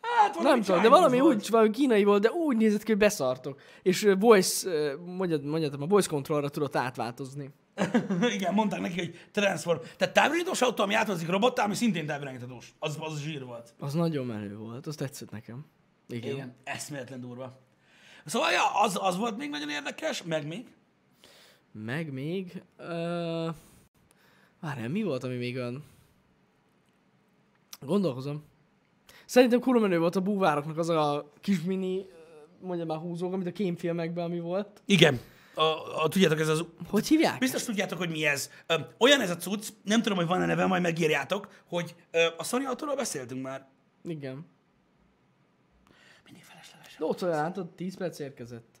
Speaker 2: Hát, valami
Speaker 1: Nem tudom, de
Speaker 2: Chinese
Speaker 1: valami
Speaker 2: volt.
Speaker 1: úgy, valami kínai volt, de úgy nézett ki, hogy beszartok. És ö, voice, ö, mondjad, mondjad, a voice controllra tudott átváltozni.
Speaker 2: [laughs] Igen, mondták neki, hogy transform. Tehát távirányítós autó, ami áthozik robottá, ami szintén távirányítós. Az, az zsír volt.
Speaker 1: Az nagyon menő volt, az tetszett nekem. Igen.
Speaker 2: Igen. Eszméletlen durva. Szóval ja, az, az volt még nagyon érdekes, meg még.
Speaker 1: Meg még... Ö... Várjál, mi volt, ami még olyan... Gondolkozom. Szerintem kurva menő volt a búvároknak az a kis mini, ö, mondjam már húzók, amit a kémfilmekben ami volt.
Speaker 2: Igen. A, a, tudjátok, ez az...
Speaker 1: Hogy hívják?
Speaker 2: Biztos tudjátok, hogy mi ez. Ö, olyan ez a cucc, nem tudom, hogy van-e neve, majd megírjátok, hogy ö, a Sony autóról beszéltünk már.
Speaker 1: Igen.
Speaker 2: Mindig felesleges.
Speaker 1: De ott olyan látod, 10 perc érkezett.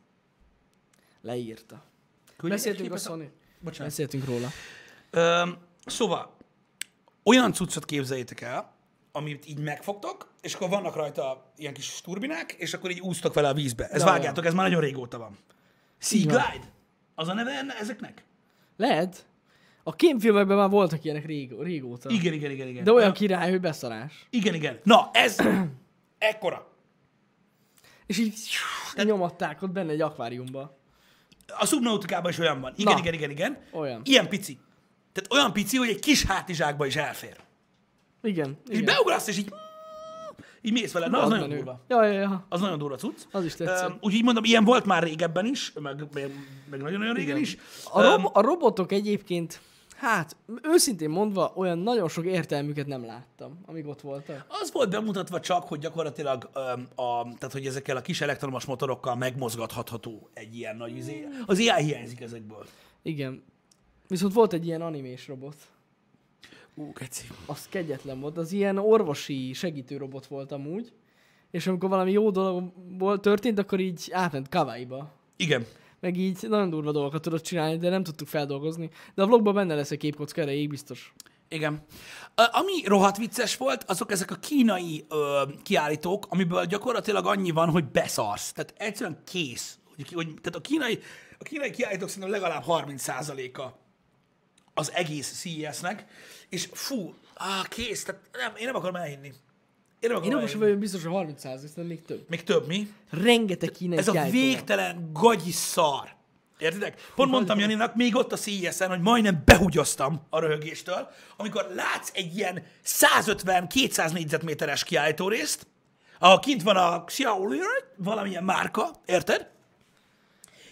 Speaker 1: Leírta.
Speaker 2: Küldjétek
Speaker 1: Beszéltünk a
Speaker 2: képet
Speaker 1: Sony.
Speaker 2: Bocsánat.
Speaker 1: Beszéltünk róla.
Speaker 2: Öm, szóval, olyan cuccot képzeljétek el, amit így megfogtok, és akkor vannak rajta ilyen kis turbinák, és akkor így úsztok vele a vízbe. Ez
Speaker 1: De
Speaker 2: vágjátok, ez már nagyon régóta van. Sea
Speaker 1: Így van.
Speaker 2: Glide? Az a neve enne- ezeknek?
Speaker 1: Lehet. A kémfilmekben már voltak ilyenek rég, régóta.
Speaker 2: Igen, igen, igen, igen.
Speaker 1: De olyan
Speaker 2: Ö,
Speaker 1: király, hogy beszarás.
Speaker 2: Igen, igen. Na, ez [clears throat] ekkora.
Speaker 1: És így nyomatták ott benne egy akváriumba.
Speaker 2: A Subnauticában is olyan van. Igen,
Speaker 1: Na.
Speaker 2: igen, igen, igen.
Speaker 1: Olyan.
Speaker 2: Ilyen pici. Tehát olyan pici, hogy egy kis hátizsákba is elfér.
Speaker 1: Igen.
Speaker 2: És
Speaker 1: igen.
Speaker 2: beugrasz, és így... Így mész vele. Na, az
Speaker 1: Az
Speaker 2: nagyon
Speaker 1: menő.
Speaker 2: durva.
Speaker 1: Ja, ja, ja.
Speaker 2: Az nagyon durva cucc.
Speaker 1: Az is tetszett.
Speaker 2: Öm, úgyhogy mondom, ilyen volt már régebben is, meg, meg, meg nagyon-nagyon régen is.
Speaker 1: A, rob- a robotok egyébként, hát őszintén mondva, olyan nagyon sok értelmüket nem láttam, amíg ott voltak.
Speaker 2: Az volt bemutatva csak, hogy gyakorlatilag öm, a, tehát, hogy ezekkel a kis elektromos motorokkal megmozgatható egy ilyen nagy izé. Az AI hiányzik ezekből.
Speaker 1: Igen. Viszont volt egy ilyen animés robot.
Speaker 2: Ú, keci.
Speaker 1: Az kegyetlen volt. Az ilyen orvosi segítő robot volt amúgy. És amikor valami jó dolog volt, történt, akkor így átment kawaii-ba.
Speaker 2: Igen.
Speaker 1: Meg így nagyon durva dolgokat tudott csinálni, de nem tudtuk feldolgozni. De a vlogban benne lesz egy képkocka erejéig, biztos.
Speaker 2: Igen. Ö, Ami rohadt vicces volt, azok ezek a kínai ö, kiállítók, amiből gyakorlatilag annyi van, hogy beszarsz. Tehát egyszerűen kész. Hogy, hogy, tehát a kínai, a kínai kiállítók szerintem legalább 30%-a az egész CES-nek, és fú, á, kész, tehát nem, én nem akarom elhinni. Én nem akarom
Speaker 1: Én
Speaker 2: én
Speaker 1: orvos
Speaker 2: elhinni.
Speaker 1: vagyok biztos a 30 de még több.
Speaker 2: Még több mi?
Speaker 1: Rengeteg kínai
Speaker 2: Ez a
Speaker 1: kiállító van.
Speaker 2: végtelen gagyi szar. Értitek? Pont mondtam Janinak még ott a CES-en, hogy majdnem behugyoztam a röhögéstől, amikor látsz egy ilyen 150-200 négyzetméteres kiállítórészt, ahol kint van a Xiaomi, valamilyen márka, érted?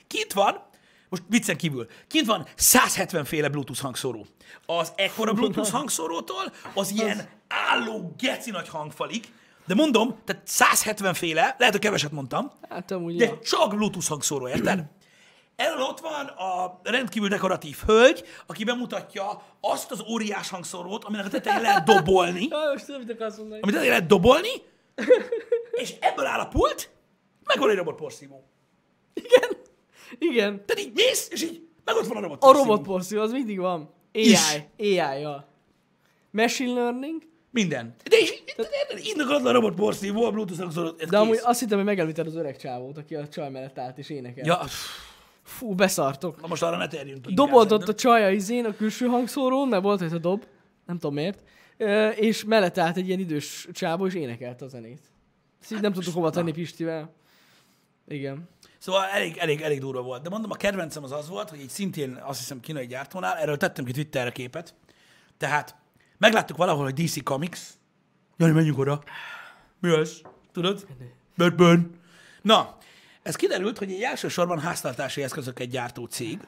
Speaker 2: Kint van, most viccen kívül, kint van 170 féle Bluetooth hangszóró. Az ekkora Bluetooth hangszórótól az ilyen álló geci nagy hangfalig, de mondom, tehát 170 féle, lehet, hogy keveset mondtam,
Speaker 1: Hát amúgy,
Speaker 2: de
Speaker 1: ja.
Speaker 2: csak Bluetooth hangszóró, érted? Elől ott van a rendkívül dekoratív hölgy, aki bemutatja azt az óriás hangszórót, aminek a tetején lehet dobolni,
Speaker 1: Ja, most tudom, mit akarsz mondani.
Speaker 2: amit tetején lehet dobolni, és ebből áll a pult, meg van egy robot porszívó.
Speaker 1: Igen. Igen.
Speaker 2: Tehát így mész, és így meg ott van a robot
Speaker 1: A robotporszívó, az mindig van. AI.
Speaker 2: Is.
Speaker 1: AI, ja. Machine learning,
Speaker 2: Minden. De is, innak a robot porszívó, a Bluetooth-nak szólott, ez
Speaker 1: De amúgy
Speaker 2: kész.
Speaker 1: azt hittem, hogy megelőtted az öreg csávót, aki a csaj mellett állt és énekel.
Speaker 2: Ja, pff,
Speaker 1: Fú, beszartok.
Speaker 2: na most arra ne terjünk. ki,
Speaker 1: Dobolt ott
Speaker 2: inkább
Speaker 1: a csaja izén a külső hangszórón, mert volt hogy a dob, nem tudom miért, Ö, és mellett állt egy ilyen idős csávó, és énekelte a zenét. Ezt így nem tudtuk hova tenni Pistivel. Igen.
Speaker 2: Szóval elég, elég, elég durva volt. De mondom, a kedvencem az az volt, hogy egy szintén azt hiszem kínai gyártónál, erről tettem ki Twitterre képet. Tehát megláttuk valahol, hogy DC Comics. Jani, menjünk oda. Mi ez? Tudod? Batman. Na, ez kiderült, hogy egy elsősorban háztartási eszközöket gyártó cég,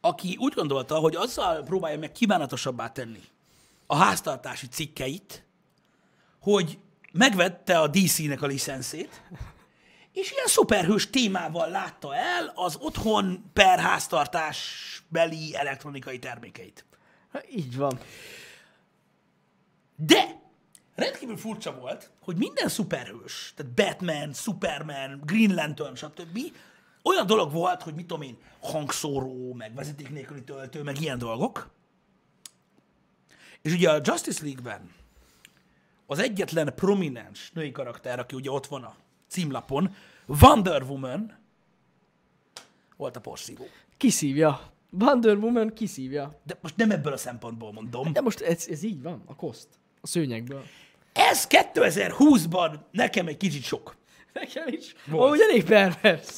Speaker 2: aki úgy gondolta, hogy azzal próbálja meg kívánatosabbá tenni a háztartási cikkeit, hogy megvette a DC-nek a licenszét, és ilyen szuperhős témával látta el az otthon per háztartás beli elektronikai termékeit.
Speaker 1: Hát így van.
Speaker 2: De rendkívül furcsa volt, hogy minden szuperhős, tehát Batman, Superman, Green Lantern, stb. olyan dolog volt, hogy mit tudom én, hangszóró, meg vezeték nélküli töltő, meg ilyen dolgok. És ugye a Justice League-ben az egyetlen prominens női karakter, aki ugye ott van a címlapon, Wonder Woman volt a porszívó.
Speaker 1: Kiszívja. Wonder Woman kiszívja.
Speaker 2: De most nem ebből a szempontból mondom.
Speaker 1: De most ez, ez így van, a koszt. A szőnyegből.
Speaker 2: Ez 2020-ban nekem egy kicsit sok.
Speaker 1: Nekem is. Amúgy elég pervers.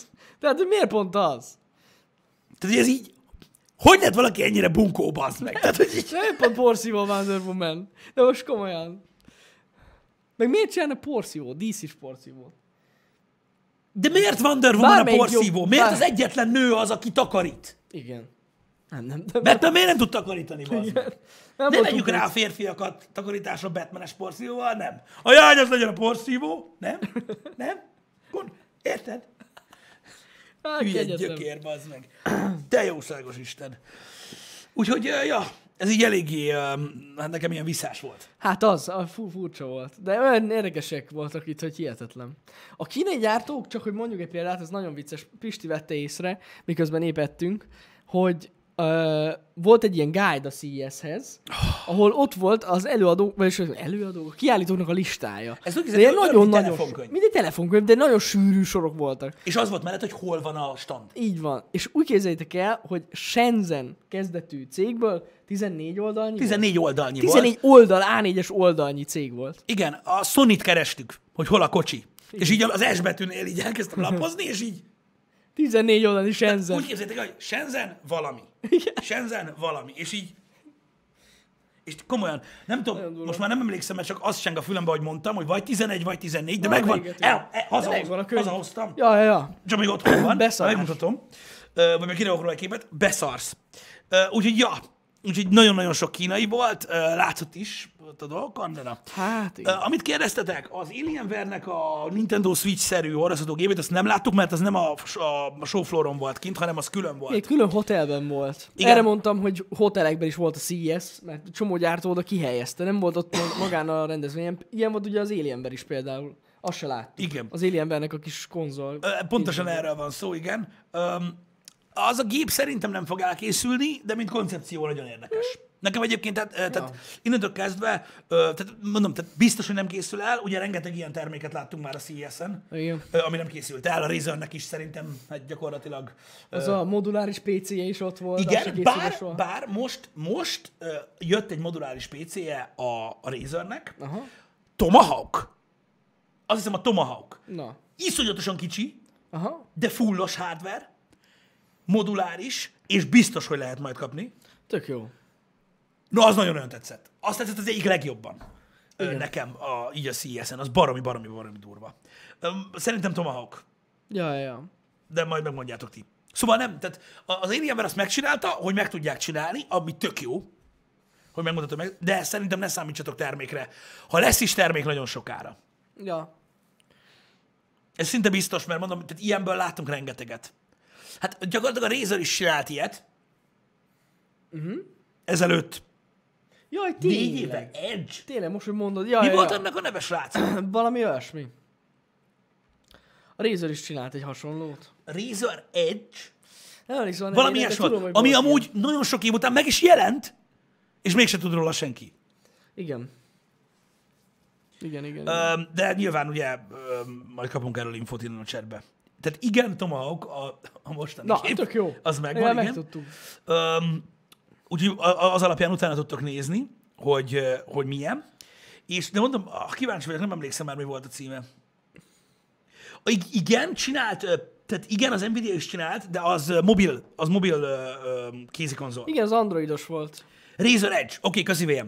Speaker 1: Tehát hogy miért pont az?
Speaker 2: Tehát hogy ez így, hogy lett valaki ennyire bunkó, bazd meg? Tehát, hogy így,
Speaker 1: Miért pont porszívó Wonder Woman? De most komolyan. Meg miért csinálna porszívó? DC-s porszívó.
Speaker 2: de miért Wonder Woman a
Speaker 1: Bármelyik
Speaker 2: porszívó?
Speaker 1: jobb-
Speaker 2: Miért
Speaker 1: bár-
Speaker 2: az egyetlen nő az, aki takarít?
Speaker 1: Igen. Nem, nem, nem.
Speaker 2: Batman miért nem tud takarítani, bazd meg?
Speaker 1: nem
Speaker 2: Ne
Speaker 1: voltunk
Speaker 2: vegyük
Speaker 1: ott.
Speaker 2: rá a férfiakat takarításra Batmanes porszívóval, nem. A jány az legyen a porszívó, nem? Nem? Gond, érted?
Speaker 1: Hát,
Speaker 2: Hülye
Speaker 1: kegyetlen.
Speaker 2: gyökér, bazd meg. Te jószágos Isten. Úgyhogy, ö, ja, ez így eléggé, ö, hát nekem ilyen visszás volt.
Speaker 1: Hát az, a fú, furcsa volt. De olyan érdekesek voltak itt, hogy hihetetlen. A kínai gyártók, csak hogy mondjuk egy példát, ez nagyon vicces, Pisti vette észre, miközben épp ettünk, hogy ö, volt egy ilyen guide a CES-hez,
Speaker 2: Ah.
Speaker 1: ahol ott volt az előadó, vagyis az előadó, a kiállítóknak a listája.
Speaker 2: Ez úgy
Speaker 1: De
Speaker 2: képzeld,
Speaker 1: ilyen
Speaker 2: olyan, mint
Speaker 1: nagyon-nagyon,
Speaker 2: telefonkönyv.
Speaker 1: mint egy telefonkönyv, de nagyon sűrű sorok voltak.
Speaker 2: És az volt mellett, hogy hol van a stand.
Speaker 1: Így van. És úgy képzeljétek el, hogy Shenzhen kezdetű cégből 14 oldalnyi volt.
Speaker 2: 14 oldalnyi volt.
Speaker 1: 14 oldal, A4-es oldalnyi cég volt.
Speaker 2: Igen, a Sony-t kerestük, hogy hol a kocsi. És így az S betűnél így elkezdtem lapozni, és így
Speaker 1: 14 oldal is Shenzhen.
Speaker 2: úgy képzeljétek, el, hogy Shenzhen valami. Shenzhen valami. És így és komolyan, nem
Speaker 1: Nagyon
Speaker 2: tudom,
Speaker 1: durva.
Speaker 2: most már nem emlékszem, mert csak az seng a fülembe, hogy mondtam, hogy vagy 11, vagy 14, de
Speaker 1: Na,
Speaker 2: megvan,
Speaker 1: véget,
Speaker 2: el, e, el,
Speaker 1: De megvan a
Speaker 2: hazahoz,
Speaker 1: könyv.
Speaker 2: hazahoztam.
Speaker 1: Ja, ja, ja.
Speaker 2: Csak még otthon van,
Speaker 1: Beszarás.
Speaker 2: ha megmutatom, Ö, vagy még kirakok róla egy képet, beszarsz. Ö, Úgyhogy ja, úgyhogy nagyon-nagyon sok kínai volt, Ö, látszott is ott a dolgokon, de na.
Speaker 1: Hát,
Speaker 2: Ö,
Speaker 1: igen.
Speaker 2: Amit kérdeztetek, az Alienware-nek a Nintendo Switch-szerű hordozható gépét, azt nem láttuk, mert az nem a, a, a showflooron volt kint, hanem az külön volt.
Speaker 1: Egy külön hotelben volt.
Speaker 2: Igen.
Speaker 1: Igen. Erre mondtam, hogy hotelekben is volt a CES, mert csomó gyártó oda kihelyezte, nem volt ott magán a rendezvényen. Ilyen volt ugye az Alienber is például. Azt se láttuk.
Speaker 2: Igen.
Speaker 1: Az Alienbernek a kis konzol.
Speaker 2: Ö, Pontosan erről van szó, igen. Öm, Az a gép szerintem nem fog elkészülni, de mint koncepció nagyon érdekes. Nekem egyébként, tehát, ö, tehát innentől kezdve, ö, tehát mondom, tehát biztos, hogy nem készül el, ugye rengeteg ilyen terméket láttunk már a CES-en,
Speaker 1: Igen.
Speaker 2: ö, ami nem készült el, a Razernek is szerintem hát gyakorlatilag ö,
Speaker 1: Az a moduláris PC-je is ott volt. az se
Speaker 2: igen,
Speaker 1: készült
Speaker 2: bár,
Speaker 1: soha.
Speaker 2: bár most, most ö, jött egy moduláris PC-je a, a Razernek,
Speaker 1: Aha.
Speaker 2: Tomahawk, azt hiszem a Tomahawk,
Speaker 1: Na.
Speaker 2: iszonyatosan kicsi,
Speaker 1: Aha.
Speaker 2: de fullos hardware, moduláris, és biztos, hogy lehet majd kapni.
Speaker 1: Tök jó.
Speaker 2: Na, az nagyon-nagyon tetszett. Azt tetszett az egyik legjobban Ö, nekem a, így a CES-en. Az baromi, baromi, baromi durva. Öm, Szerintem Tomahawk,
Speaker 1: Ja, ja, ja.
Speaker 2: de majd megmondjátok ti. Szóval nem, tehát a- az Alienware azt megcsinálta, hogy meg tudják csinálni, ami tök jó, hogy megmutatom meg, de szerintem ne számítsatok termékre. Ha lesz is termék, nagyon sokára.
Speaker 1: Ja.
Speaker 2: Ez szinte biztos, mert mondom, tehát ilyenből látunk rengeteget. Hát gyakorlatilag a Razer is csinált ilyet. Uh-huh. Mhm. Ezelőtt
Speaker 1: Jaj,
Speaker 2: négy
Speaker 1: tényleg.
Speaker 2: éve. Edge.
Speaker 1: Tényleg, most, hogy mondod. Ja,
Speaker 2: Mi
Speaker 1: ja,
Speaker 2: volt
Speaker 1: ja.
Speaker 2: annak a neve, srác?
Speaker 1: [clears throat] Valami olyasmi. A Razer is csinált egy hasonlót.
Speaker 2: Razer Edge?
Speaker 1: Nem emlékszem, nem
Speaker 2: Valami
Speaker 1: én, de
Speaker 2: ilyes volt,
Speaker 1: hogy
Speaker 2: ami
Speaker 1: volt
Speaker 2: amúgy nagyon sok év után meg is jelent, és mégsem tud róla senki.
Speaker 1: ilyen. Igen. Igen, igen. igen.
Speaker 2: Öm, de nyilván ugye öm, majd kapunk erről infót innen a chatbe. Tehát igen, Tomahawk a, a mostani
Speaker 1: Na,
Speaker 2: kép,
Speaker 1: tök jó.
Speaker 2: az megvan,
Speaker 1: Legalább
Speaker 2: igen.
Speaker 1: Megtudtuk.
Speaker 2: Öm, úgyhogy a- a- az alapján utána tudtok nézni, hogy, ö, hogy milyen. És de mondom, ah, kíváncsi vagyok, nem emlékszem már, mi volt a címe. A- ig- Igen, csinált, ö, tehát igen, az Nvidia is csinált, de az ö, mobil, az mobil ö, ö, kézikonzol.
Speaker 1: Igen, az androidos volt.
Speaker 2: Razer Edge, oké, okay, köszi VM.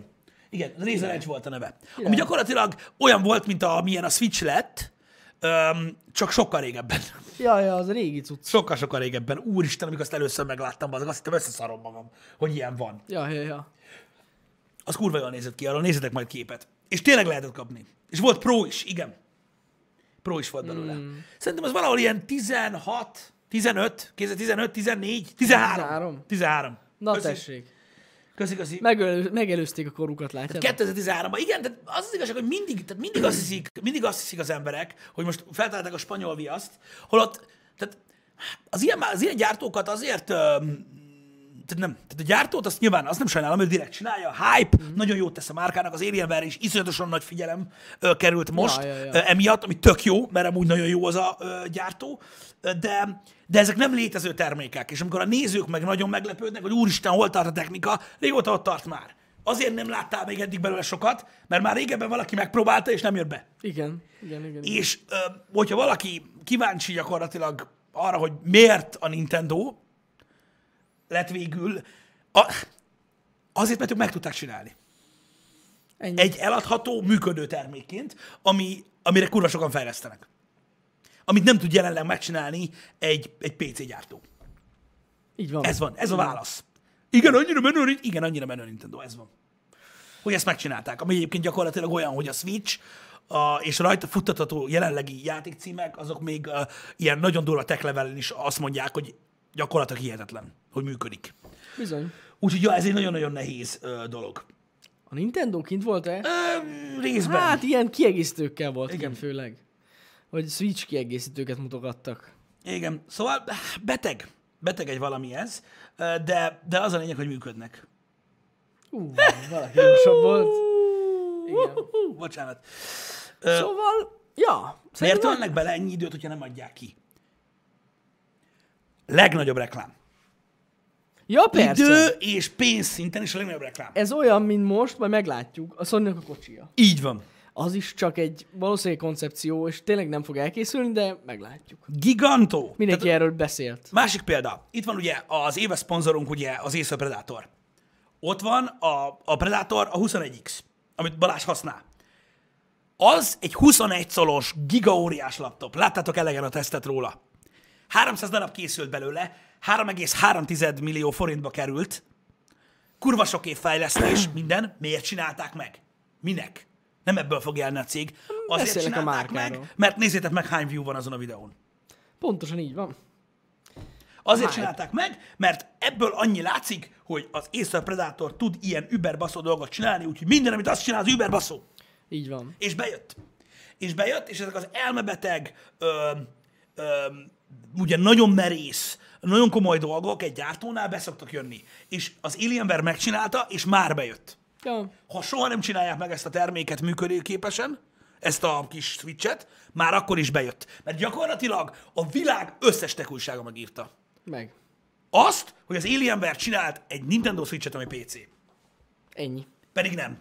Speaker 2: Igen, Razer Edge volt a neve.
Speaker 1: Igen.
Speaker 2: Ami gyakorlatilag olyan volt, mint amilyen a Switch lett, öm, csak sokkal régebben. [laughs]
Speaker 1: Ja, ja, az régi cucc.
Speaker 2: Sokkal-sokkal régebben. Úristen, amikor azt először megláttam, azok azt hittem összeszarom magam, hogy ilyen van.
Speaker 1: Ja, ja, ja.
Speaker 2: Az kurva jól nézett ki, arról nézzetek majd képet. És tényleg lehetett kapni. És volt Pro is, igen. Pro is volt belőle.
Speaker 1: Hmm.
Speaker 2: Mm. Szerintem az valahol ilyen 16, 15, 2015, 14, 13.
Speaker 1: 13.
Speaker 2: 13.
Speaker 1: Na
Speaker 2: Köszi.
Speaker 1: tessék.
Speaker 2: Köszi, köszi.
Speaker 1: Megelő, megelőzték a korukat, látjátok?
Speaker 2: 2013-ban. Igen, tehát az az igazság, hogy mindig, tehát mindig, azt hiszik, mindig azt hiszik az emberek, hogy most feltálták a spanyol viaszt, holott tehát az ilyen, az ilyen gyártókat azért öm, tehát nem, tehát a gyártót azt nyilván azt nem sajnálom, ő direkt csinálja, a hype, mm-hmm. nagyon jót tesz a márkának, az Alienware is iszonyatosan nagy figyelem ö, került most
Speaker 1: ja, ja.
Speaker 2: Ö, emiatt, ami tök jó, mert amúgy nagyon jó az a ö, gyártó, ö, de, de ezek nem létező termékek, és amikor a nézők meg nagyon meglepődnek, hogy úristen, hol tart a technika, régóta ott tart már. Azért nem láttál még eddig belőle sokat, mert már régebben valaki megpróbálta, és nem jött be.
Speaker 1: Igen, igen, igen. igen.
Speaker 2: És ö, hogyha valaki kíváncsi gyakorlatilag arra, hogy miért a Nintendo lett végül, a, azért, mert ők meg tudták csinálni.
Speaker 1: Ennyi.
Speaker 2: Egy eladható, működő termékként, ami, amire kurva sokan fejlesztenek. Amit nem tud jelenleg megcsinálni egy, egy PC gyártó.
Speaker 1: Így van.
Speaker 2: Ez van, ez a válasz. Igen, annyira menő, Nin- igen, annyira menő Nintendo, ez van. Hogy ezt megcsinálták, ami egyébként gyakorlatilag olyan, hogy a Switch a, és rajta futtatható jelenlegi játékcímek, azok még a, ilyen nagyon durva tech levelen is azt mondják, hogy gyakorlatilag hihetetlen, hogy működik.
Speaker 1: Bizony.
Speaker 2: Úgyhogy ja, ez egy nagyon-nagyon nehéz ö, dolog.
Speaker 1: A Nintendo kint volt-e?
Speaker 2: Ö, részben.
Speaker 1: Hát ilyen kiegészítőkkel volt
Speaker 2: Igen.
Speaker 1: igen. kint főleg. Hogy Switch kiegészítőket mutogattak.
Speaker 2: Igen, szóval [sighs] beteg. Beteg egy valami ez, ö, de, de az a lényeg, hogy működnek.
Speaker 1: Ú, valaki gyorsabb volt. Igen.
Speaker 2: Hú, Bocsánat. Ö,
Speaker 1: Szóval, ja.
Speaker 2: Miért
Speaker 1: Szerintem
Speaker 2: tölnek bele ennyi időt, hogyha nem adják ki? Legnagyobb reklám.
Speaker 1: Ja, persze. E-
Speaker 2: Idő és pénz szinten is a legnagyobb reklám.
Speaker 1: Ez olyan, mint most, majd meglátjuk. A sony a kocsia.
Speaker 2: Így van.
Speaker 1: Az is csak egy valószínűleg koncepció, és tényleg nem fog elkészülni, de meglátjuk.
Speaker 2: Gigantó.
Speaker 1: Mindenki erről beszélt.
Speaker 2: Másik példa. Itt van ugye az éves szponzorunk, ugye az Acer Predator. Ott van a, a Predator a 21X, amit Balázs használ. Az egy 21 szolos, gigaóriás laptop. Láttátok elegen a tesztet róla. 300 darab készült belőle, 3,3 millió forintba került. Kurva sok év
Speaker 1: [clears throat]
Speaker 2: fejlesztés, minden. Miért csinálták meg? Minek? Nem ebből fog élni a cég. Azért
Speaker 1: Beszélek a
Speaker 2: csinálták meg,
Speaker 1: márkáról.
Speaker 2: mert nézzétek meg hány view van azon a videón.
Speaker 1: Pontosan így van.
Speaker 2: Azért
Speaker 1: Hype.
Speaker 2: csinálták meg, mert ebből annyi látszik, hogy az Acer Predator tud ilyen überbaszó dolgot csinálni, úgyhogy minden, amit azt csinál, az überbaszó.
Speaker 1: Így van.
Speaker 2: És bejött. És bejött, és ezek az elmebeteg, ö, ö, ugye nagyon merész, nagyon komoly dolgok egy gyártónál beszoktak jönni. És az Alienware megcsinálta, és már bejött.
Speaker 1: Ja.
Speaker 2: Ha soha nem csinálják meg ezt a terméket működőképesen, ezt a kis switchet, már akkor is bejött. Mert gyakorlatilag a világ összes tech újsága megírta
Speaker 1: Meg.
Speaker 2: azt, hogy az Alienware csinált egy Nintendo Switch-et, ami PC.
Speaker 1: Ennyi.
Speaker 2: Pedig nem.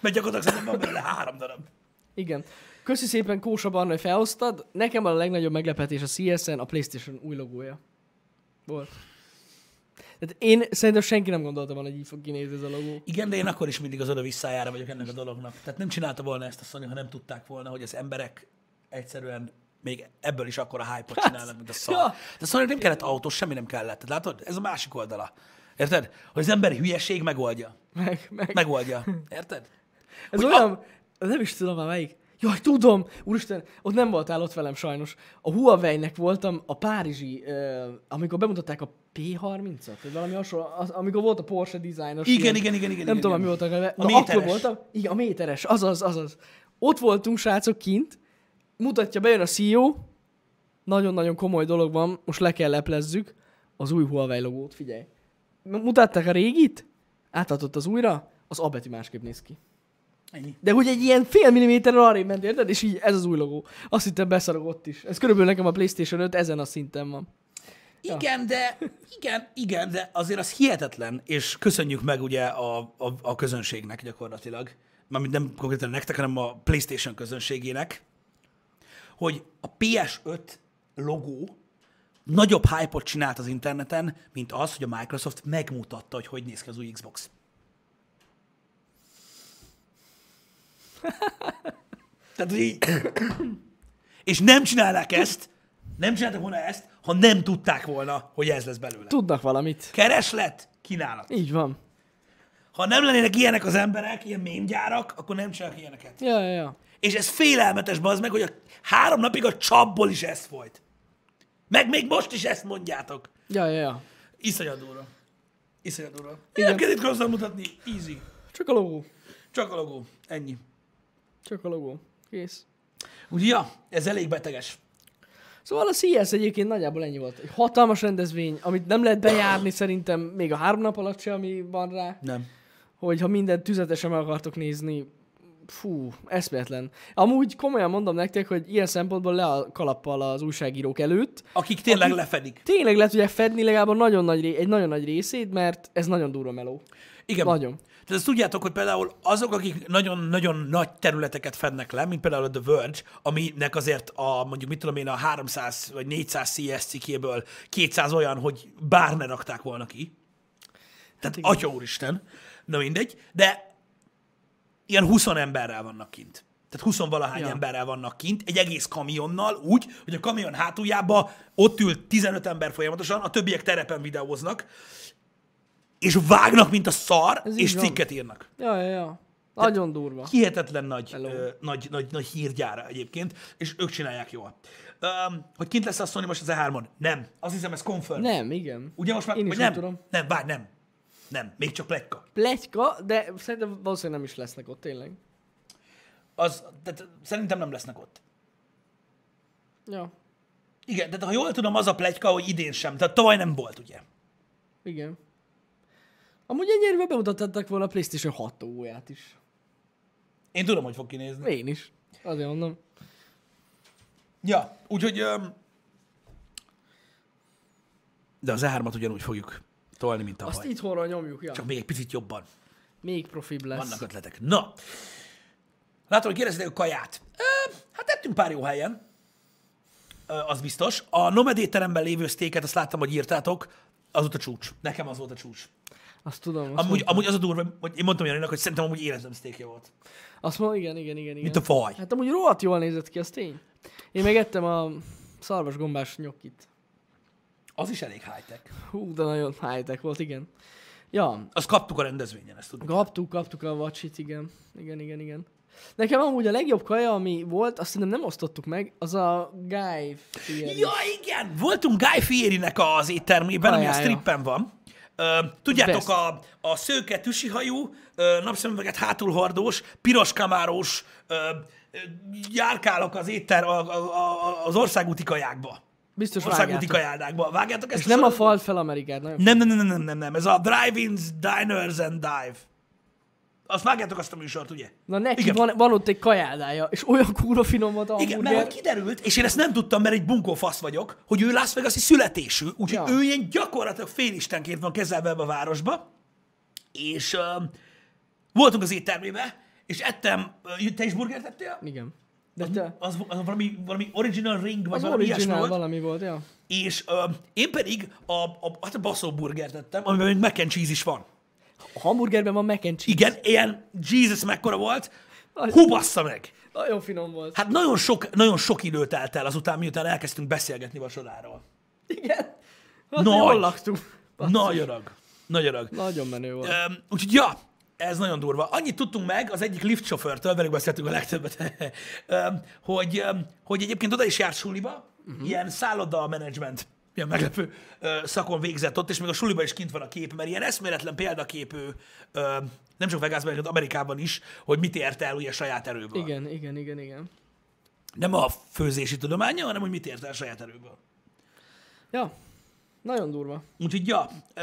Speaker 2: Mert gyakorlatilag szerintem van belőle három darab.
Speaker 1: Igen. Köszi szépen Kósa Barna, hogy felhoztad. Nekem a legnagyobb meglepetés a CSN a Playstation új logója. Volt. Tehát én szerintem senki nem gondolta volna, hogy így fog kinézni ez a logó.
Speaker 2: Igen, de én akkor is mindig az oda visszájára vagyok ennek a dolognak. Tehát nem csinálta volna ezt a Sony, ha nem tudták volna, hogy az emberek egyszerűen még ebből is akkor a hype-ot csinálnak, mint a szar.
Speaker 1: ja.
Speaker 2: De a Sony nem kellett autó, semmi nem kellett. Tehát látod, ez a másik oldala. Érted? Hogy az emberi hülyeség megoldja.
Speaker 1: Meg, meg. meg
Speaker 2: Megoldja. Érted?
Speaker 1: ez
Speaker 2: hogy
Speaker 1: olyan... A... Nem is tudom már melyik. Jaj, tudom! Úristen, ott nem voltál ott velem sajnos. A Huawei-nek voltam a párizsi, uh, amikor bemutatták a P30-at, vagy valami hasonló, az, amikor volt a Porsche designos.
Speaker 2: Igen,
Speaker 1: ilyen-
Speaker 2: igen, igen, igen,
Speaker 1: Nem
Speaker 2: igen,
Speaker 1: tudom,
Speaker 2: igen.
Speaker 1: mi volt a neve.
Speaker 2: A
Speaker 1: Na, akkor
Speaker 2: méteres.
Speaker 1: voltam. Igen, a méteres, azaz, azaz. Ott voltunk, srácok, kint, mutatja, bejön a CEO, nagyon-nagyon komoly dolog van, most le kell leplezzük az új Huawei logót, figyelj. M- Mutatták a régit, átadott az újra, az A betű másképp néz ki.
Speaker 2: Ennyi.
Speaker 1: De hogy egy ilyen fél milliméterrel arrébb ment, érted? És így ez az új logó. Azt hittem beszarog ott is. Ez körülbelül nekem a Playstation 5 ezen a szinten van.
Speaker 2: Igen, de, igen, igen, de azért az hihetetlen, és köszönjük meg ugye a, a, a közönségnek gyakorlatilag, mármint nem konkrétan nektek, hanem a PlayStation közönségének, hogy a PS5 logó nagyobb hype csinált az interneten, mint az, hogy a Microsoft megmutatta, hogy hogy néz ki az új Xbox. Tehát, hogy így... És nem csinálnák ezt, nem csináltak volna ezt, ha nem tudták volna, hogy ez lesz belőle.
Speaker 1: Tudnak valamit.
Speaker 2: Kereslet, kínálat.
Speaker 1: Így van.
Speaker 2: Ha nem lennének ilyenek az emberek, ilyen mémgyárak, akkor nem csinálnak ilyeneket.
Speaker 1: Ja, ja, ja.
Speaker 2: És ez félelmetes, bazd meg, hogy a három napig a csapból is ez folyt. Meg még most is ezt mondjátok.
Speaker 1: Ja, ja, ja.
Speaker 2: Iszonyat durva. Iszonyat durva.
Speaker 1: Igen.
Speaker 2: Nem kell itt mutatni. Easy.
Speaker 1: Csak a logó.
Speaker 2: Csak a logó. Ennyi.
Speaker 1: Csak a logó. Kész.
Speaker 2: Úgyhogy, ja, ez elég beteges.
Speaker 1: Szóval a CES egyébként nagyjából ennyi volt. Egy hatalmas rendezvény, amit nem lehet bejárni szerintem még a három nap alatt se, ami van rá.
Speaker 2: Nem.
Speaker 1: Hogyha mindent tüzetesen meg akartok nézni, fú, eszméletlen. Amúgy komolyan mondom nektek, hogy ilyen szempontból le a kalappal az újságírók előtt.
Speaker 2: Akik tényleg Aki... lefedik.
Speaker 1: Tényleg le tudják fedni legalább a nagyon nagy, ré- egy nagyon nagy részét, mert ez nagyon durva meló.
Speaker 2: Igen.
Speaker 1: Nagyon.
Speaker 2: Tehát ezt tudjátok, hogy például azok, akik nagyon-nagyon nagy területeket fednek le, mint például a The Verge, aminek azért a, mondjuk mit tudom én, a 300 vagy 400 CS cikkéből 200 olyan, hogy bár ne rakták volna ki.
Speaker 1: Hát
Speaker 2: Tehát
Speaker 1: igen.
Speaker 2: atya úristen, na mindegy, de ilyen 20 emberrel vannak kint. Tehát 20 valahány
Speaker 1: Ja.
Speaker 2: ja. emberrel vannak kint, egy egész kamionnal, úgy, hogy a kamion hátuljába ott ül 15 ember folyamatosan, a többiek terepen videóznak, és vágnak, mint a szar,
Speaker 1: Ez így
Speaker 2: és
Speaker 1: van.
Speaker 2: cikket írnak.
Speaker 1: Ja, ja, ja. Nagyon durva.
Speaker 2: Hihetetlen nagy,
Speaker 1: Hello.
Speaker 2: ö, nagy, nagy, nagy hírgyára egyébként, és ők csinálják jól. Um, hogy kint lesz a Sony most az E3-on? Nem. Azt hiszem, ez confirm.
Speaker 1: Nem, igen.
Speaker 2: Ugye most már,
Speaker 1: Én is
Speaker 2: vagy
Speaker 1: nem
Speaker 2: nem?
Speaker 1: tudom.
Speaker 2: Nem, várj, nem. Nem, még csak plekka.
Speaker 1: Pletyka, de szerintem valószínűleg nem is lesznek ott tényleg.
Speaker 2: Az, tehát szerintem nem lesznek ott.
Speaker 1: Ja,
Speaker 2: Igen, tehát ha jól tudom, az a plegyka, hogy idén sem. Tehát tavaly nem volt, ugye?
Speaker 1: igen. Amúgy ennyire bemutatták volna a PlayStation 6 óját is.
Speaker 2: Én tudom, hogy fog kinézni.
Speaker 1: Én is. Azért mondom.
Speaker 2: Ja, úgyhogy... Um, de az E3-at ugyanúgy fogjuk tolni, mint tavaly.
Speaker 1: Azt itthonra nyomjuk, ja.
Speaker 2: Csak még egy picit jobban.
Speaker 1: Még profibb lesz.
Speaker 2: Vannak ötletek. Na, látom, hogy kérdezitek a kaját. Ö, hát tettünk pár jó helyen, Ö, az biztos. A Nomed étteremben lévő sztéket, azt láttam, hogy írtátok, az volt a csúcs. Nekem az volt a csúcs.
Speaker 1: Azt tudom. Azt,
Speaker 2: Amúgy,
Speaker 1: mond...
Speaker 2: amúgy az a durva, hogy én mondtam Janinak, hogy szerintem amúgy életem sztékje volt.
Speaker 1: azt mondom, igen, igen, igen. igen.
Speaker 2: Mint a faj.
Speaker 1: Hát amúgy rohadt jól nézett ki, az tény. Én meg ettem a szarvas gombás nyokit.
Speaker 2: Az is elég high-tech.
Speaker 1: Hú, de nagyon high volt, igen. Ja,
Speaker 2: Azt kaptuk a rendezvényen, ezt tudom.
Speaker 1: kaptuk, kaptuk a vacsit, igen. Igen, igen, igen. Nekem amúgy a legjobb kaja, ami volt, azt szerintem nem osztottuk meg, az a Guy Fieri.
Speaker 2: Ja, igen! Voltunk Guy Fierinek az éttermében, ami a
Speaker 1: Kajája.
Speaker 2: strippen van. Ö, tudjátok,
Speaker 1: Best.
Speaker 2: a, a szőke tüsihajú, ö, napszemüveget hátulhordós, piros kamáros ö, ö, járkálok az étter, a, a, a, az országúti kajákba.
Speaker 1: Biztos
Speaker 2: Országúti
Speaker 1: vágjátok.
Speaker 2: kajádákba. Vágjátok ezt
Speaker 1: És nem a
Speaker 2: sorozatot?
Speaker 1: fal fel Amerikát, nagyon
Speaker 2: Nem, nem, nem, nem, nem, nem. Ez a Drive-ins, Diners and Dive. Azt vágjátok azt a műsort, ugye?
Speaker 1: Na neki
Speaker 2: Igen.
Speaker 1: van, van, ott egy kajádája, és olyan kúra finom volt a
Speaker 2: Igen, mert
Speaker 1: hamburger.
Speaker 2: hogy kiderült, és én ezt nem tudtam, mert egy bunkó fasz vagyok, hogy ő Las Vegas-i születésű, úgyhogy
Speaker 1: Ja.
Speaker 2: ja. ő ilyen gyakorlatilag félistenként van kezelve ebbe a városba, és uh, voltunk az éttermébe, és ettem, uh, te is burgert ettél?
Speaker 1: Igen. De te,
Speaker 2: Az, az valami, valami original ring, vagy
Speaker 1: az
Speaker 2: valami ilyesmi
Speaker 1: originál
Speaker 2: volt.
Speaker 1: valami volt, ja.
Speaker 2: És uh, én pedig a, a, hát a baszó burgert ettem, amiben még mac and cheese is van.
Speaker 1: A hamburgerben van mac and cheese.
Speaker 2: Igen, ilyen Jesus mekkora volt,
Speaker 1: Az-
Speaker 2: hú bassza meg!
Speaker 1: Nagyon finom volt.
Speaker 2: Hát nagyon sok, nagyon sok idő telt el azután, miután elkezdtünk beszélgetni vacsoráról.
Speaker 1: Igen. Hát
Speaker 2: Nagy.
Speaker 1: jól laktunk.
Speaker 2: Nagy arag. Nagy arag.
Speaker 1: Nagyon menő volt.
Speaker 2: Öm, úgyhogy ja, ez nagyon durva. Annyit tudtunk meg az egyik liftsofőrtől, velük beszéltünk a legtöbbet, [laughs] öm, hogy, öm, hogy egyébként oda is járt suliba, uh-huh. ilyen szálloda menedzsment, ilyen meglepő ö, szakon végzett ott, és még a suliba is kint van a kép, mert ilyen eszméletlen példaképő, öm, nem csak Vegasban, hanem Amerikában is, hogy mit ért el ugye saját erőből.
Speaker 1: Igen, igen, igen, igen.
Speaker 2: Nem a főzési tudománya, hanem hogy mit ért el saját erőből.
Speaker 1: Ja. Nagyon durva.
Speaker 2: Úgyhogy ja, ö,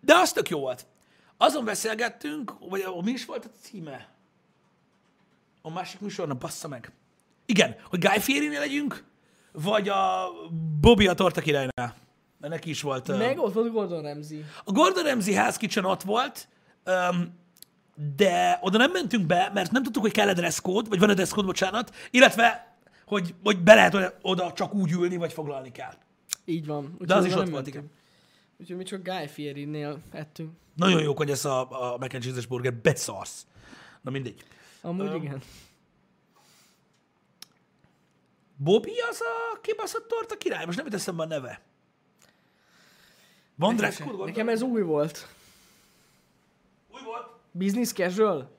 Speaker 2: de az tök jó volt. Azon beszélgettünk, vagy a- mi is volt a címe? A másik műsornak, bassza meg. Igen, hogy Guy Fieri-nél legyünk, vagy a Bobby a torta királynál. Mert neki is volt... ö,
Speaker 1: Meg ott volt Gordon Ramsay.
Speaker 2: a Gordon Ramsay House Kitchen ott volt, öm, de oda nem mentünk be, mert nem tudtuk, hogy kell-e dress code, vagy van-e dress code, bocsánat, illetve, hogy, hogy be lehet oda- oda csak úgy ülni, vagy foglalni kell.
Speaker 1: Így van. Úgyhogy
Speaker 2: De az is
Speaker 1: oda
Speaker 2: ott
Speaker 1: nem
Speaker 2: volt,
Speaker 1: mentünk.
Speaker 2: igen.
Speaker 1: Úgyhogy mi csak Guy Fieri-nél ettünk.
Speaker 2: Nagyon jók, hogy ez a, a mac and cheese-es burger, beszarsz. Na mindegy.
Speaker 1: Amúgy igen.
Speaker 2: Bobby az a kibaszott torta király, most nem jut eszembe a neve. Van dress code? Gordon?
Speaker 1: Nekem ez új volt.
Speaker 2: Új volt.
Speaker 1: Business casual?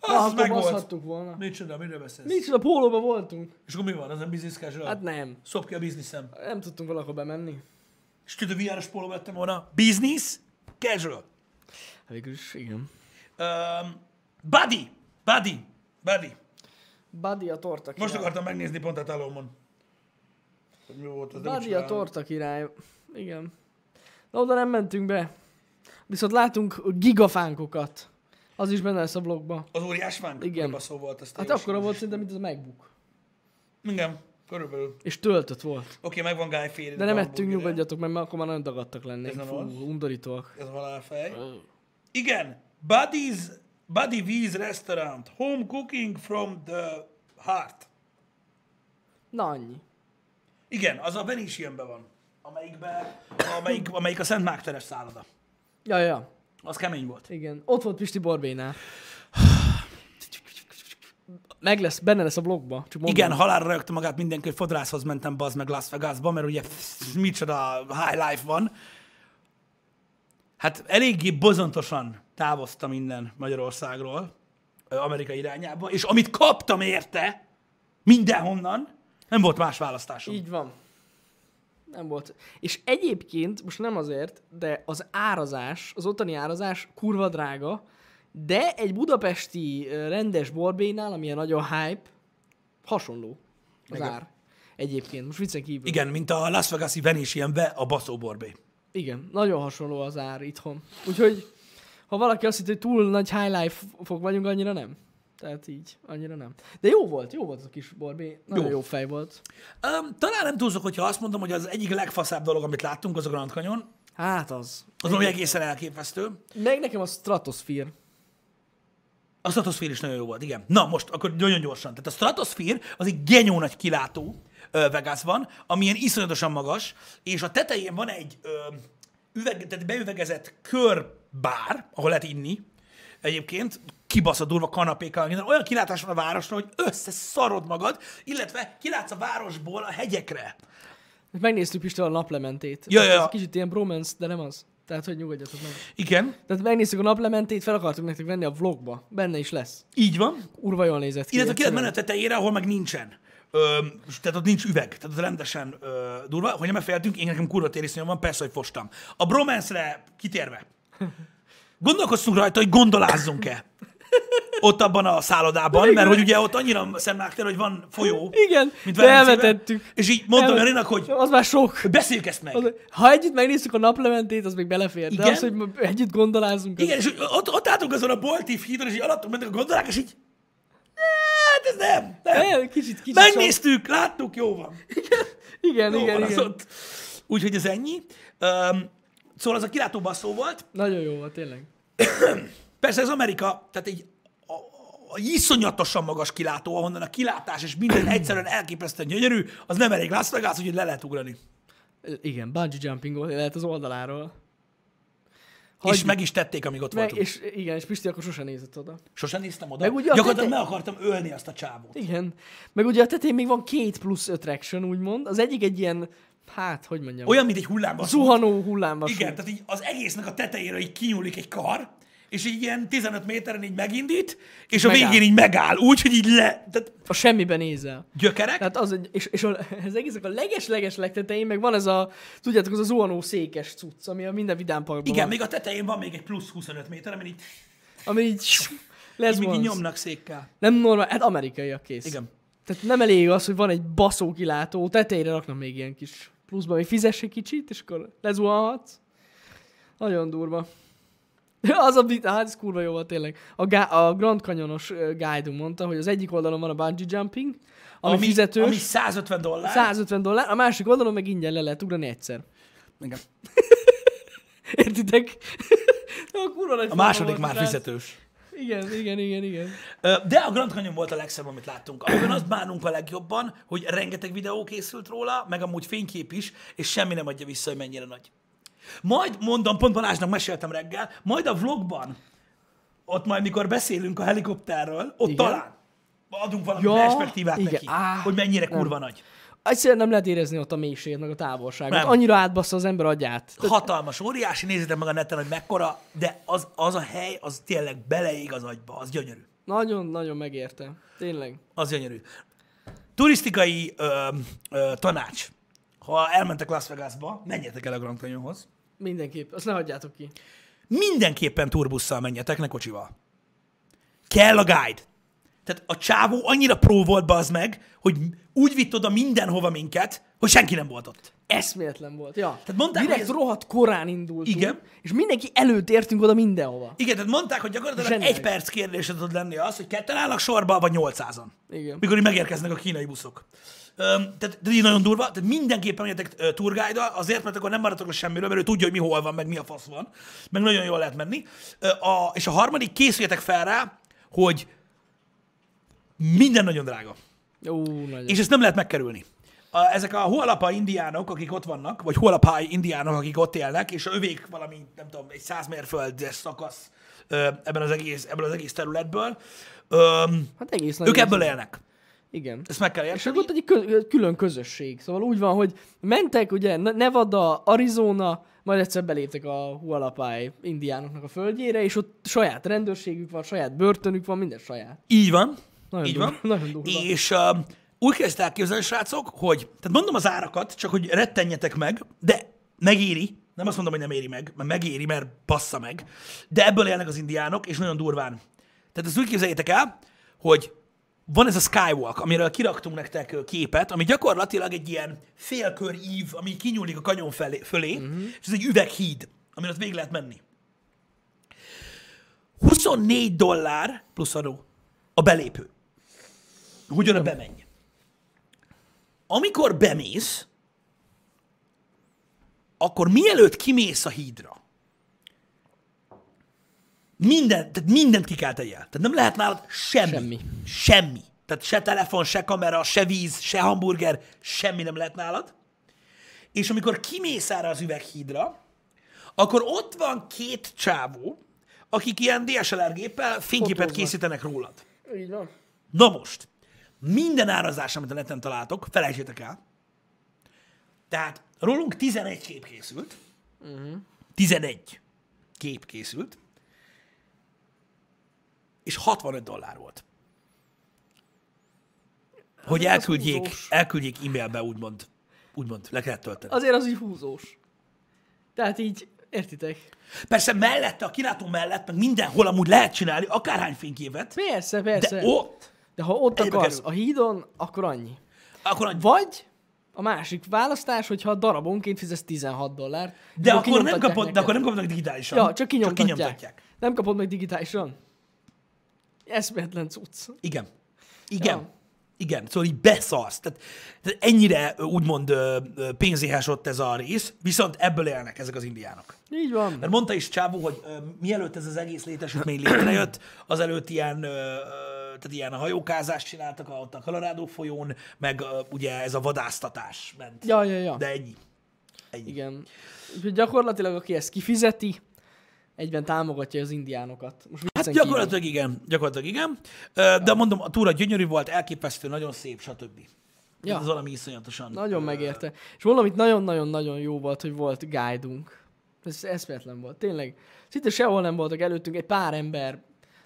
Speaker 2: Az, az
Speaker 1: akkor
Speaker 2: meg volt.
Speaker 1: baszhattuk volna.
Speaker 2: Micsoda, miről beszélsz?
Speaker 1: Nincs, a pólóba voltunk.
Speaker 2: És akkor mi van? Az nem business casual?
Speaker 1: Hát nem.
Speaker 2: Szop ki a bizniszem.
Speaker 1: Nem tudtunk valahol bemenni.
Speaker 2: És tudod, VR-es póló vettem volna. Business casual.
Speaker 1: Hát Végül is, igen.
Speaker 2: Um, buddy, buddy, buddy.
Speaker 1: Buddy a torta király.
Speaker 2: Most akartam megnézni pont a talomon. Hogy mi volt az de
Speaker 1: Buddy
Speaker 2: úgyse
Speaker 1: a
Speaker 2: állom.
Speaker 1: torta király. Igen. Na oda nem mentünk be. Viszont látunk gigafánkokat. Az is benne lesz a blogba.
Speaker 2: Az óriás fánk?
Speaker 1: Igen.
Speaker 2: Baszó volt az
Speaker 1: Hát
Speaker 2: téves.
Speaker 1: akkora volt szinte, mint az a MacBook.
Speaker 2: Igen, körülbelül. Oké,
Speaker 1: És töltött volt.
Speaker 2: megvan Guy Fieri.
Speaker 1: De nem ettünk,
Speaker 2: a hamburgerje.
Speaker 1: nyugodjatok meg, mert akkor már nagyon dagadtak lennénk.
Speaker 2: Ez nem
Speaker 1: Fú,
Speaker 2: az?
Speaker 1: undorítóak.
Speaker 2: Ez a halálfej. Igen, Buddy's, Buddy V's Restaurant. Home cooking from the heart.
Speaker 1: Na annyi.
Speaker 2: Igen, az a Venetianben van. Amelyikben, amelyik, amelyik a Szent Márk teres szálloda.
Speaker 1: Ja, ja.
Speaker 2: Az kemény volt.
Speaker 1: Igen. Ott volt Pisti Borbénál. Meg lesz, benne lesz a blogba. Csak mondom.
Speaker 2: Igen, halálra rögtön magát mindenki, hogy fodrászhoz mentem, bazd meg Las Vegasba, mert ugye pff, micsoda high life van. Hát eléggé bozontosan távoztam innen Magyarországról, ö, Amerika irányába, és amit kaptam érte, mindenhonnan, nem volt más választásom.
Speaker 1: Így van. Nem volt. És egyébként, most nem azért, de az árazás, az ottani árazás kurva drága, de egy budapesti ö, rendes borbénál, ami a nagyon hype, hasonló az
Speaker 2: Igen.
Speaker 1: ár. Egyébként, most viccen kívül.
Speaker 2: Igen, mint a Las Vegas-i Venetianbe a baszóborbé.
Speaker 1: Igen, nagyon hasonló az ár itthon. Úgyhogy, ha valaki azt hitt, hogy túl nagy high life fog vagyunk, annyira nem. Tehát így, annyira nem. De jó volt, jó volt az a kis borbé. Nagyon
Speaker 2: Jó.
Speaker 1: jó, jó fej volt.
Speaker 2: Um, talán nem túlzok, hogyha azt mondom, hogy az egyik legfaszább dolog, amit láttunk, az a Grand Canyon.
Speaker 1: Hát az.
Speaker 2: Az valami egészen elképesztő.
Speaker 1: Meg nekem a Stratosphere.
Speaker 2: A Stratosphere is nagyon jó volt, igen. Na most, akkor nagyon gyorsan. Tehát a Stratosphere az egy genyó nagy kilátó ö, Vegasban, ami ilyen iszonyatosan magas, és a tetején van egy ö, üveg, tehát beüvegezett körbár, ahol lehet inni, egyébként, kibaszott durva kanapékkal, minden. olyan kilátás van a városra, hogy összeszarod magad, illetve kilátsz a városból a hegyekre.
Speaker 1: Megnéztük Pista a naplementét.
Speaker 2: Ja, ja,
Speaker 1: Ez
Speaker 2: ja.
Speaker 1: Kicsit ilyen bromance, de nem az. Tehát, hogy nyugodjatok meg.
Speaker 2: Igen,
Speaker 1: Tehát megnéztük a naplementét, fel akartuk nektek venni a vlogba. Benne is lesz.
Speaker 2: így van.
Speaker 1: Urva jól nézett ki.
Speaker 2: Illetve ki hát lehet
Speaker 1: egyszerűen.
Speaker 2: menni a tetejére, ahol meg nincsen. Ö, tehát ott nincs üveg, tehát ott rendesen ö, durva. Hogy nem féltünk, én nekem kurva tériszonyom van, persze, hogy fostam. A bromance kitérve. Gondolkoztunk rajta, hogy gondolázzunk-e ott abban a szállodában, mert hogy ugye ott annyira szemlágtér, hogy van folyó.
Speaker 1: Igen, de
Speaker 2: Velencében.
Speaker 1: elvetettük.
Speaker 2: És így mondtam
Speaker 1: Elvet-
Speaker 2: Janinak, hogy
Speaker 1: Az már sok.
Speaker 2: beszéljük ezt meg.
Speaker 1: Az, ha együtt megnéztük a naplementét, az még belefér.
Speaker 2: Igen.
Speaker 1: De az, hogy ma együtt gondolázunk.
Speaker 2: Igen, és hogy ott, ott álltunk azon a boltív hídon, és így alattunk mentek a gondolák, és így hát ez nem, nem.
Speaker 1: El, kicsit, kicsit sok.
Speaker 2: Megnéztük, láttuk, jó van.
Speaker 1: Igen,
Speaker 2: Jó
Speaker 1: igen,
Speaker 2: van az
Speaker 1: igen.
Speaker 2: ott. Úgyhogy ez ennyi. Um, szóval az a kilátó basszó volt.
Speaker 1: Nagyon jó volt, tényleg.
Speaker 2: Persze ez Amerika, tehát egy a, a iszonyatosan magas kilátó, ahonnan a kilátás
Speaker 1: [clears throat]
Speaker 2: és minden egyszerűen elképesztően gyönyörű, az nem elég Las Vegas, úgyhogy le lehet ugrani.
Speaker 1: Ö, Igen, bungee jumping volt, lehet az oldaláról.
Speaker 2: És meg is tették, amíg ott
Speaker 1: meg,
Speaker 2: voltunk.
Speaker 1: és igen, és Pisti akkor sose nézett oda.
Speaker 2: Sosem néztem oda.
Speaker 1: Meg ugye a
Speaker 2: Gyakorlatilag
Speaker 1: tete-
Speaker 2: meg akartam ölni azt a csávót.
Speaker 1: Igen. Meg ugye a tetején még van két plusz attraction, úgymond. Az egyik egy ilyen, hát, hogy mondjam,
Speaker 2: Olyan, mint egy hullámvasút.
Speaker 1: zuhanó hullámvasút.
Speaker 2: Igen, tehát így az egésznek a tetejére így kinyúlik egy kar, és így ilyen 15 méteren így megindít, és a
Speaker 1: megáll.
Speaker 2: végén így megáll, úgy, hogy így le... Tehát
Speaker 1: A semmibe nézel.
Speaker 2: gyökerek,
Speaker 1: Tehát az, egy- és, és a, az egésznek a leges-leges legtetején meg van ez a, tudjátok, az a zuhanó székes cucc, ami a minden vidámparkban van.
Speaker 2: Igen, még a tetején van még egy plusz 25 méter, amin így,
Speaker 1: Ami így lesz
Speaker 2: így még így
Speaker 1: vonz.
Speaker 2: nyomnak székkel.
Speaker 1: Nem normál, hát amerikaiak kész.
Speaker 2: Igen.
Speaker 1: Tehát nem elég az, hogy van egy baszó kilátó, tetejére raknak még ilyen kis pluszba, még fizess egy kicsit, és akkor lezuhanhatsz. Nagyon durva. [laughs] Az a bit, hát ez kurva jó volt tényleg. A, gá- a Grand Canyonos ö, guide mondta, hogy az egyik oldalon van a bungee jumping, ami, ami fizetős,
Speaker 2: Ami
Speaker 1: ami
Speaker 2: 150 dollár.
Speaker 1: 150 dollár, a másik oldalon meg ingyen le lehet ugrani egyszer. [laughs]
Speaker 2: Igen.
Speaker 1: Értitek? [laughs] a kurva nagy
Speaker 2: A
Speaker 1: fora
Speaker 2: második
Speaker 1: volt,
Speaker 2: már
Speaker 1: tehát-
Speaker 2: fizetős.
Speaker 1: Igen, igen, igen, igen.
Speaker 2: Ö, De a Grand Canyon volt a legszebb, amit láttunk. Amiben azt bánunk a legjobban, hogy rengeteg videó készült róla, meg amúgy fénykép is, és semmi nem adja vissza, hogy mennyire nagy. Majd mondom, pont Balázsnak meséltem reggel, majd a vlogban, ott majd mikor beszélünk a helikopterről, ott
Speaker 1: Igen.
Speaker 2: talán adunk valami
Speaker 1: Ja,
Speaker 2: perspektívát
Speaker 1: igen.
Speaker 2: neki,
Speaker 1: Á,
Speaker 2: hogy mennyire kurva nagy.
Speaker 1: Egyszerűen nem lehet érezni ott a mélységet, meg a távolságot.
Speaker 2: Nem.
Speaker 1: Annyira átbassza az ember agyát. Tehát
Speaker 2: Hatalmas, óriási, nézzétek meg a neten, hogy mekkora, de az, az a hely, az tényleg beleég az agyba, az gyönyörű.
Speaker 1: Nagyon-nagyon megérte. Tényleg.
Speaker 2: Az gyönyörű. Turisztikai ö, ö, tanács. Ha elmentek Las Vegasba, menjetek el a Grand Canyonhoz.
Speaker 1: Mindenképp. Azt ne hagyjátok ki.
Speaker 2: Mindenképpen turbusszal menjetek, ne kocsival. Kell a guide. Tehát a csávó annyira pró volt az meg, hogy úgy vitt oda mindenhova minket, hogy senki nem volt ott.
Speaker 1: Eszméletlen volt. Ja. Tehát
Speaker 2: mondták,
Speaker 1: Direkt
Speaker 2: hogy
Speaker 1: ez...
Speaker 2: ez-
Speaker 1: rohadt korán indultunk.
Speaker 2: Igen.
Speaker 1: És mindenki előtt értünk oda mindenhova.
Speaker 2: Igen, tehát mondták, hogy gyakorlatilag
Speaker 1: Zseniális.
Speaker 2: egy perc kérdése tud lenni az, hogy ketten állnak sorba, vagy 800-an.
Speaker 1: Igen.
Speaker 2: Mikor így megérkeznek a kínai buszok. Öm, tehát, tehát így nagyon durva, tehát mindenképpen menjetek turgájdal, azért, mert akkor nem maradtok le semmiről, mert ő tudja, hogy mi hol van, meg mi a fasz van, meg nagyon jól lehet menni. Ö, a, és a harmadik, készüljetek fel rá, hogy minden nagyon drága.
Speaker 1: Ó, nagyon.
Speaker 2: És ezt nem lehet megkerülni. A, ezek a hualapa indiánok, akik ott vannak, vagy hualapai indiánok, akik ott élnek, és övék valami, nem tudom, egy száz mérföldes szakasz ö, ebben az egész, ebből az egész területből, ö,
Speaker 1: Hát egész nagy.
Speaker 2: ők ebből élnek.
Speaker 1: Igen.
Speaker 2: Ezt meg kell
Speaker 1: És akkor
Speaker 2: érteni.
Speaker 1: ott egy kö- külön közösség. Szóval úgy van, hogy mentek, ugye, Ne- Nevada, Arizona, majd egyszer beléptek a Hualapai indiánoknak a földjére, és ott saját rendőrségük van, saját börtönük van, minden saját.
Speaker 2: Így van.
Speaker 1: Nagyon
Speaker 2: így
Speaker 1: durva.
Speaker 2: van.
Speaker 1: [laughs] Nagyon durva.
Speaker 2: És uh, úgy kezdte elképzelni, srácok, hogy, tehát mondom az árakat, csak hogy rettenjetek meg, de megéri, nem azt mondom, hogy nem éri meg, mert megéri, mert bassza meg, de ebből élnek az indiánok, és nagyon durván. Tehát ezt úgy képzeljétek el, hogy van ez a Skywalk, amiről kiraktunk nektek ö, képet, ami gyakorlatilag egy ilyen félkör ív, ami kinyúlik a kanyon felé, fölé,
Speaker 1: Mhm.
Speaker 2: és ez egy üveghíd, amin ott végig lehet menni. 24 dollár plusz adó a belépő. Hogy oda bemenj. Amikor bemész, akkor mielőtt kimész a hídra, minden, tehát mindent ki kell tegyél. Tehát nem lehet nálad semmi.
Speaker 1: Semmi.
Speaker 2: Semmi. Tehát se telefon, se kamera, se víz, se hamburger, semmi nem lehet nálad. És amikor kimész erre az üveghídra, akkor ott van két csávó, akik ilyen DSLR-géppel fényképet
Speaker 1: Fotóznak.
Speaker 2: készítenek rólad.
Speaker 1: Így van.
Speaker 2: Na most, minden árazás, amit a neten találtok, felejtsétek el. Tehát rólunk 11 kép készült. Uh-huh.
Speaker 1: Mhm.
Speaker 2: 11 kép készült. És 65 dollár volt. Hogy
Speaker 1: Hát, az
Speaker 2: elküldjék,
Speaker 1: húzós.
Speaker 2: elküldjék e-mailbe, úgymond, úgymond le kellett tölteni.
Speaker 1: Azért az így húzós. Tehát így, értitek?
Speaker 2: Persze mellette, a kilátó mellett, meg mindenhol amúgy lehet csinálni akárhány fényképet,
Speaker 1: Persze,
Speaker 2: de
Speaker 1: persze.
Speaker 2: ott,
Speaker 1: De ha ott
Speaker 2: Egybe
Speaker 1: akarsz
Speaker 2: kerül.
Speaker 1: a hídon, akkor annyi.
Speaker 2: akkor annyi.
Speaker 1: Vagy a másik választás, hogyha darabonként fizesz 16 dollárt.
Speaker 2: De
Speaker 1: akkor
Speaker 2: akkor, nem
Speaker 1: kinyomtatják
Speaker 2: kapod, de
Speaker 1: neked.
Speaker 2: akkor nem kapnak digitálisan.
Speaker 1: Ja, csak kinyomtatják. Nem kapod meg digitálisan. Eszméletlen cucc.
Speaker 2: Igen. Igen.
Speaker 1: Ja.
Speaker 2: Igen, szóval így beszarsz. Tehát, tehát ennyire ö, úgymond ö, ö, pénzéhes ott ez a rész, viszont ebből élnek ezek az indiánok.
Speaker 1: Így van.
Speaker 2: Mert mondta is Csábú, hogy ö, mielőtt ez az egész
Speaker 1: [clears throat]
Speaker 2: létesítmény létrejött, azelőtt ilyen, ö, ö, tehát ilyen hajókázást csináltak a- ott a Colorado folyón, meg ö, ugye ez a vadásztatás ment.
Speaker 1: Ja, ja, ja.
Speaker 2: De ennyi. Ennyi.
Speaker 1: Igen. Úgyhogy gyakorlatilag, aki ezt kifizeti, egyben támogatja az indiánokat. Most
Speaker 2: Hát
Speaker 1: viccen kívül.
Speaker 2: gyakorlatilag igen, gyakorlatilag igen. Ö, De mondom, a túra gyönyörű volt, elképesztő, nagyon szép, stb. Ja.
Speaker 1: Ja.
Speaker 2: Ez valami iszonyatosan.
Speaker 1: Nagyon megérte. És mondom, itt nagyon-nagyon-nagyon jó volt, hogy volt guide-unk. Ez eszméletlen volt, tényleg. Szinte sehol nem voltak előttünk, egy pár ember,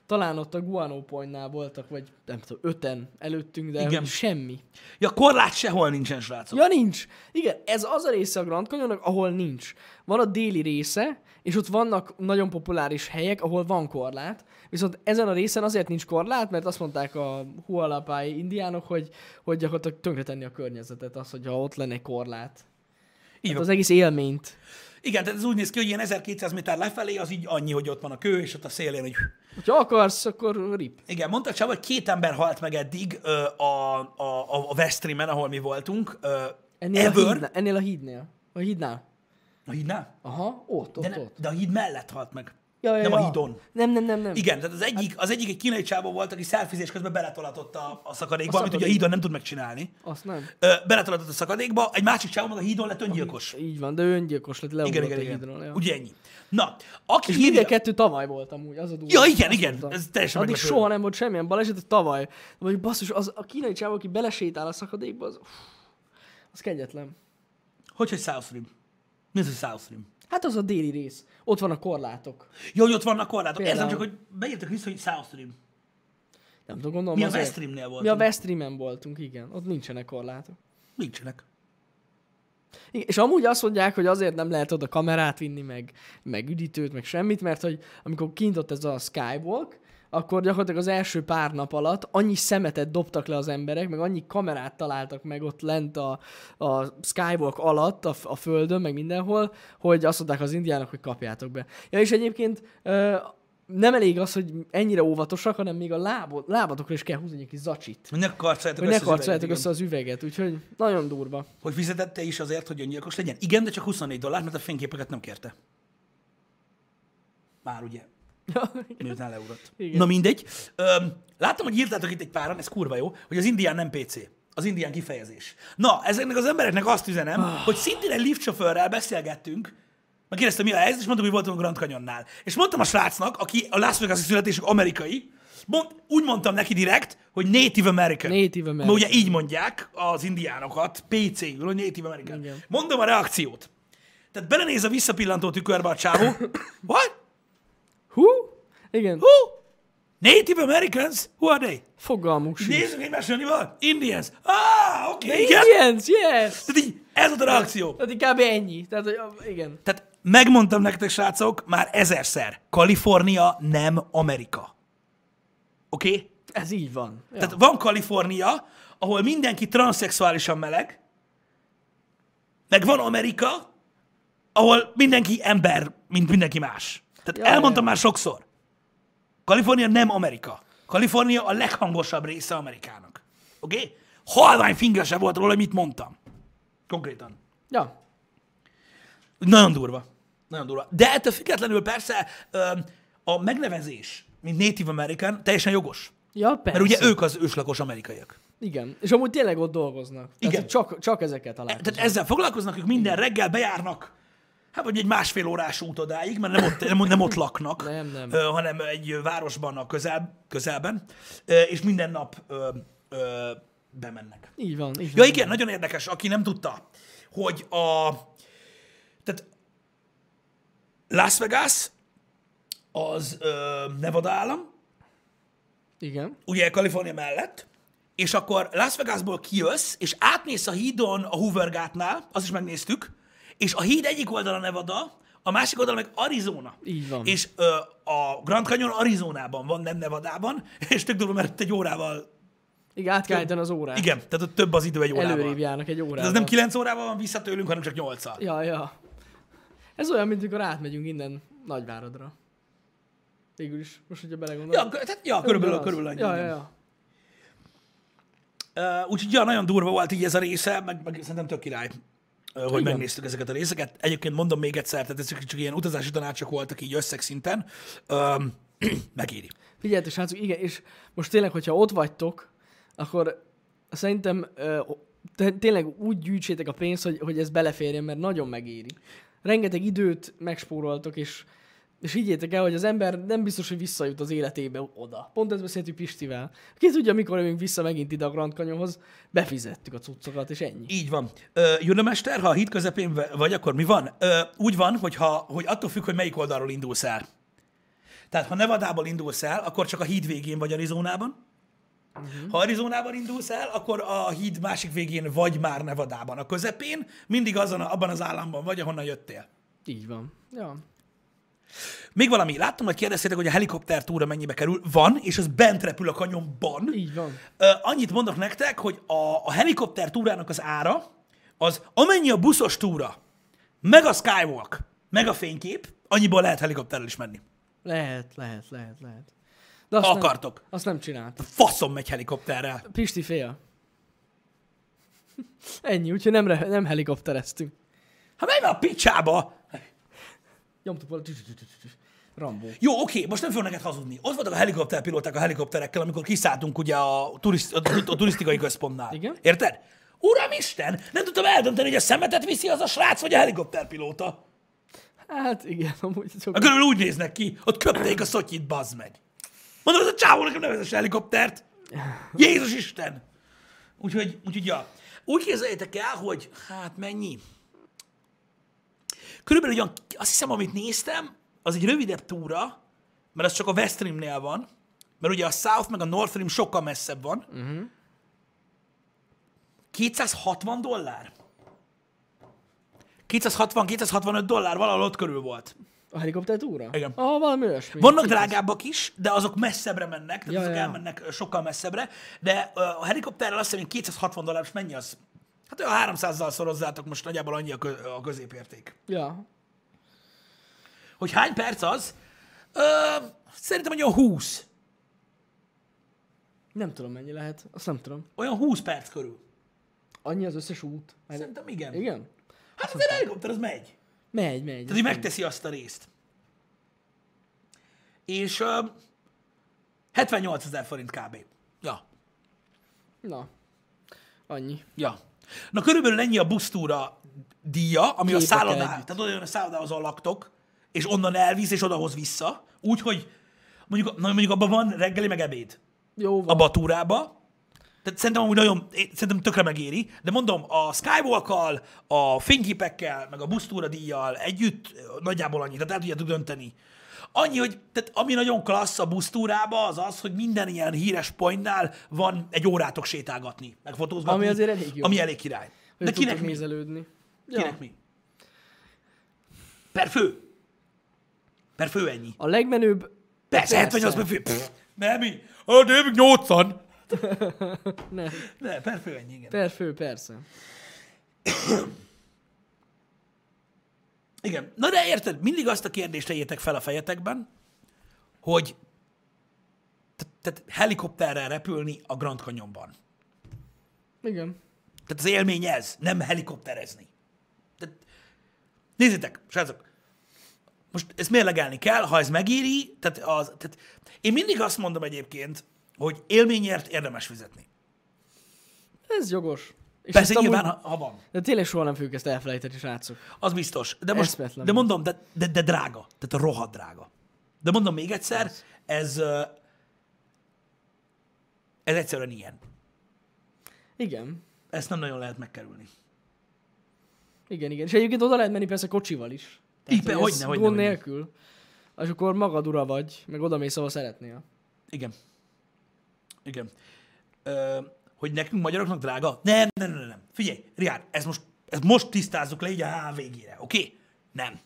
Speaker 1: talán ott a Guano Pointnál voltak, vagy nem tudom, öten előttünk, de
Speaker 2: Igen.
Speaker 1: hogy semmi.
Speaker 2: Ja, korlát sehol nincsen, srácok. Ja.
Speaker 1: Ja, nincs. Igen, ez az a része a Grand Canyonnak, ahol nincs. Van a déli része, és ott vannak nagyon populáris helyek, ahol van korlát, viszont ezen a részen azért nincs korlát, mert azt mondták a hualapai indiánok, hogy, hogy gyakorlatilag tönkretenni a környezetet az, hogyha ott lenne egy korlát.
Speaker 2: Így
Speaker 1: Hát
Speaker 2: van.
Speaker 1: az egész élményt.
Speaker 2: Igen, tehát ez úgy néz ki, hogy ilyen 1200 méter lefelé az így annyi, hogy ott van a kő, és ott a szélén, hogy...
Speaker 1: Ha akarsz, akkor rip.
Speaker 2: Igen, mondta Csaba, hogy két ember halt meg eddig ö, a, a, a Westreamen, ahol mi voltunk. Ö,
Speaker 1: Ennél a,
Speaker 2: ever.
Speaker 1: hídnál, ennél a hídnél. A hídnál.
Speaker 2: A hídnál?
Speaker 1: Aha, ott, ott,
Speaker 2: De, ne,
Speaker 1: ott.
Speaker 2: de a híd mellett halt meg. nem a hídon.
Speaker 1: Nem, nem, nem, Hát- nem.
Speaker 2: Igen, tehát az egyik, az egyik egy kínai csávó volt, aki szelfizés közben beletolatott a, a szakadékba,
Speaker 1: A
Speaker 2: amit ugye a
Speaker 1: szakadék.
Speaker 2: hídon nem tud megcsinálni.
Speaker 1: Azt nem.
Speaker 2: Ö, beletolatott a szakadékba, egy másik csávó meg a hídon lett öngyilkos.
Speaker 1: Így van, de ő öngyilkos lett, leugrott
Speaker 2: Igen, igen,
Speaker 1: a
Speaker 2: igen.
Speaker 1: hídról. Ja.
Speaker 2: Ugye ennyi. Na, aki
Speaker 1: És mind a
Speaker 2: írja,
Speaker 1: kettő tavaly volt amúgy, az a durva.
Speaker 2: Ja, igen,
Speaker 1: Azt
Speaker 2: igen,
Speaker 1: mondtam.
Speaker 2: ez teljesen
Speaker 1: Addig
Speaker 2: meglepő.
Speaker 1: soha nem volt semmilyen baleset, de tavaly. De mondjuk basszus, az a kínai csávó, aki belesétál a szakadékba, az, uff, az kegyetlen.
Speaker 2: hogy, hogy South Stream? Mi az, hogy South Stream?
Speaker 1: Hát az a déli rész. Ott van a korlátok.
Speaker 2: Jó, hogy ott vannak korlátok. Érzem
Speaker 1: Például.
Speaker 2: csak, hogy beírtak vissza, hogy South Stream.
Speaker 1: Nem tudom, gondolom
Speaker 2: Mi a
Speaker 1: azért.
Speaker 2: Westreamnél
Speaker 1: Mi a
Speaker 2: voltunk.
Speaker 1: Westreamen voltunk, igen. Ott nincsenek korlátok.
Speaker 2: Nincsenek.
Speaker 1: Igen, és amúgy azt mondják, hogy azért nem lehet oda kamerát vinni, meg, meg üdítőt, meg semmit, mert hogy amikor kint ott ez a skywalk, akkor gyakorlatilag az első pár nap alatt annyi szemetet dobtak le az emberek, meg annyi kamerát találtak meg ott lent a, a skywalk alatt, a, f- a földön, meg mindenhol, hogy azt mondták az indiának, hogy kapjátok be. Ja, és egyébként ö, nem elég az, hogy ennyire óvatosak, hanem még a lábot, lábatokra is kell húzni egy kis zacsit.
Speaker 2: Hogy ne karcoljátok
Speaker 1: Hogy ne
Speaker 2: össze az üveget,
Speaker 1: karcoljátok
Speaker 2: igen.
Speaker 1: össze az üveget, úgyhogy nagyon durva.
Speaker 2: Hogy fizetette is azért, hogy öngyilkos legyen? Igen, de csak 24 dollár, mert a fényképeket nem kérte. Már ugye, miután leugrott.
Speaker 1: Igen.
Speaker 2: Na mindegy. Öm, láttam, hogy írtátok itt egy páran, ez kurva jó, hogy az indián nem PC. Az indián kifejezés. Na, ezeknek az embereknek azt üzenem,
Speaker 1: Ah.
Speaker 2: hogy szintén egy liftsofőrrel beszélgettünk, meg kérdeztem, mi a helyzet, és mondtam, hogy voltunk Grand Canyonnál. És mondtam a srácnak, aki a Las Vegas születésük amerikai, mond, úgy mondtam neki direkt, hogy Native American.
Speaker 1: Native
Speaker 2: Ma
Speaker 1: American.
Speaker 2: ugye így mondják az indiánokat, PC-ül, hogy Native American.
Speaker 1: Igen.
Speaker 2: Mondom a reakciót. Tehát belenéz a visszapillantó tükörbe a
Speaker 1: [coughs]
Speaker 2: csávó. What?
Speaker 1: Hú? Igen. Hú?
Speaker 2: Who? Native Americans? Who are they?
Speaker 1: Fogalmuk sincs.
Speaker 2: Nézzük egymásra, mi van? Indians. Ah, oké, okay, igen.
Speaker 1: Indians, yes!
Speaker 2: Tehát így, ez volt a reakció.
Speaker 1: Tehát inkább ennyi. Tehát, hogy ah, igen.
Speaker 2: Tehát megmondtam nektek, srácok, már ezerszer. Kalifornia nem Amerika. Oké? Okay?
Speaker 1: Ez így van. Ja.
Speaker 2: Tehát van Kalifornia, ahol mindenki transzexuálisan meleg, meg van Amerika, ahol mindenki ember, mint mindenki más. Tehát
Speaker 1: Ja,
Speaker 2: elmondtam
Speaker 1: ja.
Speaker 2: már sokszor. Kalifornia nem Amerika. Kalifornia a leghangosabb része Amerikának. Oké? Okay? Halvány finga se volt róla, hogy mit mondtam. Konkrétan.
Speaker 1: ja.
Speaker 2: Nagyon durva. Nagyon durva. De ettől függetlenül persze öm, a megnevezés, mint Native American, teljesen jogos.
Speaker 1: Ja, persze.
Speaker 2: Mert ugye ők az őslakos amerikaiak.
Speaker 1: Igen. És amúgy tényleg ott dolgoznak. Tehát,
Speaker 2: Igen.
Speaker 1: hogy Csak, csak ezeket találkoznak.
Speaker 2: E, Tehát ezzel foglalkoznak, ők minden reggel bejárnak, hát vagy egy másfél órás út odáig, mert nem ott, nem, nem ott
Speaker 1: [laughs]
Speaker 2: laknak,
Speaker 1: Nem, nem.
Speaker 2: Ö, hanem egy ö, városban a közel, közelben, ö, és minden nap ö, ö, bemennek.
Speaker 1: Így van. Így
Speaker 2: Ja
Speaker 1: van.
Speaker 2: igen, nagyon érdekes, aki nem tudta, hogy a... Tehát Las Vegas az ö, Nevada állam,
Speaker 1: igen.
Speaker 2: ugye Kalifornia mellett, és akkor Las Vegasból kijössz, és átmész a hídon a Hoover gátnál, azt is megnéztük, és a híd egyik oldala Nevada, a másik oldala meg Arizona.
Speaker 1: Így van.
Speaker 2: És ö, a Grand Canyon Arizonában van, nem Nevadában, [laughs] és tök durva, mert ott egy órával,
Speaker 1: Igen, át kell állítani az órát.
Speaker 2: igen, tehát ott több az idő egy órával.
Speaker 1: Hát. Előrébb járnak egy órával.
Speaker 2: Tehát az nem 9 órával van vissza tőlünk, hanem csak 8
Speaker 1: Ja, ja. Ez olyan, mint amikor átmegyünk innen Nagyváradra. Végül is, most hogyha belegondolok.
Speaker 2: Ja, kö- tehát, ja körülbelül,
Speaker 1: Ugyanaz.
Speaker 2: körülbelül annyi.
Speaker 1: Ja,
Speaker 2: igen.
Speaker 1: ja, ja.
Speaker 2: Ö, Úgyhogy ja, nagyon durva volt így ez a része, meg, meg szerintem tök király, ö, hogy megnéztük ezeket a részeket. Egyébként mondom még egyszer, tehát ezek csak ilyen utazási tanácsok voltak így összegszinten. Öm, [clears throat] megéri.
Speaker 1: Figyeljetek, srácok, igen, és most tényleg, hogyha ott vagytok, akkor szerintem ö, te- tényleg úgy gyűjtsétek a pénzt, hogy, hogy ez beleférjen, mert nagyon megéri. Rengeteg időt megspóroltok, és, és higgyétek el, hogy az ember nem biztos, hogy visszajut az életébe oda. Pont ezt beszéltük Pistivel. Ki tudja, mikor jövünk vissza megint ide a Grand Canyonhoz, befizettük a cuccokat, és ennyi.
Speaker 2: Így van. Ö, Jön a mester, ha a híd közepén ve- vagy, akkor mi van? Ö, Úgy van, hogy, ha, hogy attól függ, hogy melyik oldalról indulsz el. Tehát ha Nevadából indulsz el, akkor csak a híd végén vagy Arizonában. Ha Arizonában indulsz el, akkor a híd másik végén vagy már Nevadában. A közepén mindig azon, a- abban az államban vagy, ahonnan jöttél.
Speaker 1: Így van. Ja.
Speaker 2: Még valami, láttam, hogy kérdeztétek, hogy a helikopter túra mennyibe kerül. Van, és az bent repül a kanyonban.
Speaker 1: Így van.
Speaker 2: Ö, annyit mondok nektek, hogy a, a helikopter túrának az ára, az amennyi a buszos túra, meg a Skywalk, meg a fénykép, annyiból lehet helikopterrel is menni.
Speaker 1: Lehet, lehet, lehet, lehet. De azt
Speaker 2: Ha
Speaker 1: nem,
Speaker 2: akartok.
Speaker 1: azt nem csinált.
Speaker 2: Faszom megy helikopterrel.
Speaker 1: Pisti fél. [laughs] Ennyi, úgyhogy nem, re- nem helikoptereztünk.
Speaker 2: Ha menj már a picsába!
Speaker 1: Nyomtuk volna. Rambó.
Speaker 2: Jó, oké, most nem fogok neked hazudni. Ott voltak a helikopterpilóták a helikopterekkel, amikor kiszálltunk ugye a, turiszt, a, a turisztikai központnál.
Speaker 1: Igen.
Speaker 2: Érted? Uramisten! Nem tudtam eldönteni, hogy a szemetet viszi az a srác, vagy a helikopterpilóta.
Speaker 1: Hát igen, amúgy csak...
Speaker 2: Hát Körülbelül úgy néznek ki, ott köpték a szotyit, bazd meg. Mondom, ez a csávó nekem nevezes helikoptert. Jézus Isten! Úgyhogy, úgyhogy ja. Úgy képzeljétek el, hogy hát mennyi? Körülbelül ugyan, azt hiszem, amit néztem, az egy rövidebb túra, mert az csak a West Rimnél van, mert ugye a South meg a North Rim sokkal messzebb van. Uh-huh. 260 dollár? 260-265 dollár valahol ott körül volt.
Speaker 1: A helikopter túra?
Speaker 2: Igen.
Speaker 1: Ah, valami olyasmi.
Speaker 2: Vannak drágábbak is, de azok messzebbre mennek,
Speaker 1: Ja,
Speaker 2: tehát ja, azok
Speaker 1: ja,
Speaker 2: ja.
Speaker 1: ja.
Speaker 2: elmennek ö, sokkal messzebbre, de ö, a helikopterrel azt hiszem, hogy 260 dollár, és mennyi az? Hát olyan 300-zal szorozzátok, most nagyjából annyi a, kö, a középérték.
Speaker 1: Ja.
Speaker 2: Hogy hány perc az? Ö, szerintem olyan 20.
Speaker 1: Nem tudom mennyi lehet. Azt nem tudom.
Speaker 2: Olyan 20 perc körül.
Speaker 1: Annyi az összes út. Hát,
Speaker 2: Szerintem igen. igen.
Speaker 1: igen?
Speaker 2: Hát azért a helikopter az megy.
Speaker 1: Megy, megy.
Speaker 2: Tehát, hogy megteszi azt a részt. És ö, 78 ezer forint kb. Ja,
Speaker 1: Na. Annyi.
Speaker 2: Ja. Na körülbelül ennyi a busztúra díja, ami
Speaker 1: Képekkel
Speaker 2: a szállodá,
Speaker 1: együtt.
Speaker 2: tehát olyan a szállodához ahol laktok, és onnan elvisz, és odahoz vissza. Úgyhogy mondjuk, na, mondjuk abban van reggeli, meg ebéd.
Speaker 1: Jó van.
Speaker 2: Abba a túrába. Tehát szerintem amúgy nagyon, én, szerintem tökre megéri, de mondom, a skywalk a fényképekkel, meg a busztúra díjjal együtt ö, nagyjából annyi, tehát el tudjátok dönteni. Annyi, hogy tehát ami nagyon klassz a busztúrába, az az, hogy minden ilyen híres pontnál van egy órátok sétálgatni, meg fotózgatni.
Speaker 1: Ami azért elég jó.
Speaker 2: Ami elég király.
Speaker 1: Hogy
Speaker 2: de
Speaker 1: tudtok
Speaker 2: kinek mi?
Speaker 1: nézelődni.
Speaker 2: Kinek
Speaker 1: Ja.
Speaker 2: mi? Per fő. Per fő ennyi.
Speaker 1: A legmenőbb...
Speaker 2: Persze, hát, 78 per fő. Pff, Nem mi? A David
Speaker 1: [laughs]
Speaker 2: 80.
Speaker 1: Ne.
Speaker 2: Ne, per fő ennyi, igen.
Speaker 1: Per fő, persze.
Speaker 2: Igen. Na de érted, mindig azt a kérdést tegyétek fel a fejetekben, hogy te- tehát helikopterrel repülni a Grand Canyonban.
Speaker 1: Igen.
Speaker 2: Tehát az élmény ez, nem helikopterezni. Tehát, nézzétek, srácok, most ezt mérlegelni kell, ha ez megéri, tehát, az, tehát én mindig azt mondom egyébként, hogy élményért érdemes fizetni.
Speaker 1: Ez jogos. És
Speaker 2: Persze
Speaker 1: ezt amúgy-
Speaker 2: nyilván, ha, ha van.
Speaker 1: De tényleg soha nem fogjuk ezt elfelejteni, srácok.
Speaker 2: Az biztos. De most,
Speaker 1: Eszmetlen
Speaker 2: de
Speaker 1: volt.
Speaker 2: mondom, de, de, de drága. Tehát rohadt drága. De mondom még egyszer, ez, ö, ez egyszerűen ilyen.
Speaker 1: Igen.
Speaker 2: Ezt nem nagyon lehet megkerülni.
Speaker 1: Igen, igen. És egyébként oda lehet menni persze kocsival is.
Speaker 2: Így be-
Speaker 1: hogy ez
Speaker 2: hogyne, hogyne,
Speaker 1: Gond
Speaker 2: hogyne.
Speaker 1: nélkül. És akkor magad ura vagy, meg oda mész, ahol szeretnél.
Speaker 2: Igen. Igen. Ö, hogy nekünk magyaroknak drága? Nem, nem, nem, nem. Figyelj, Riár, ez most, ezt most tisztázzuk le így a HVG-re, oké? Okay? Nem.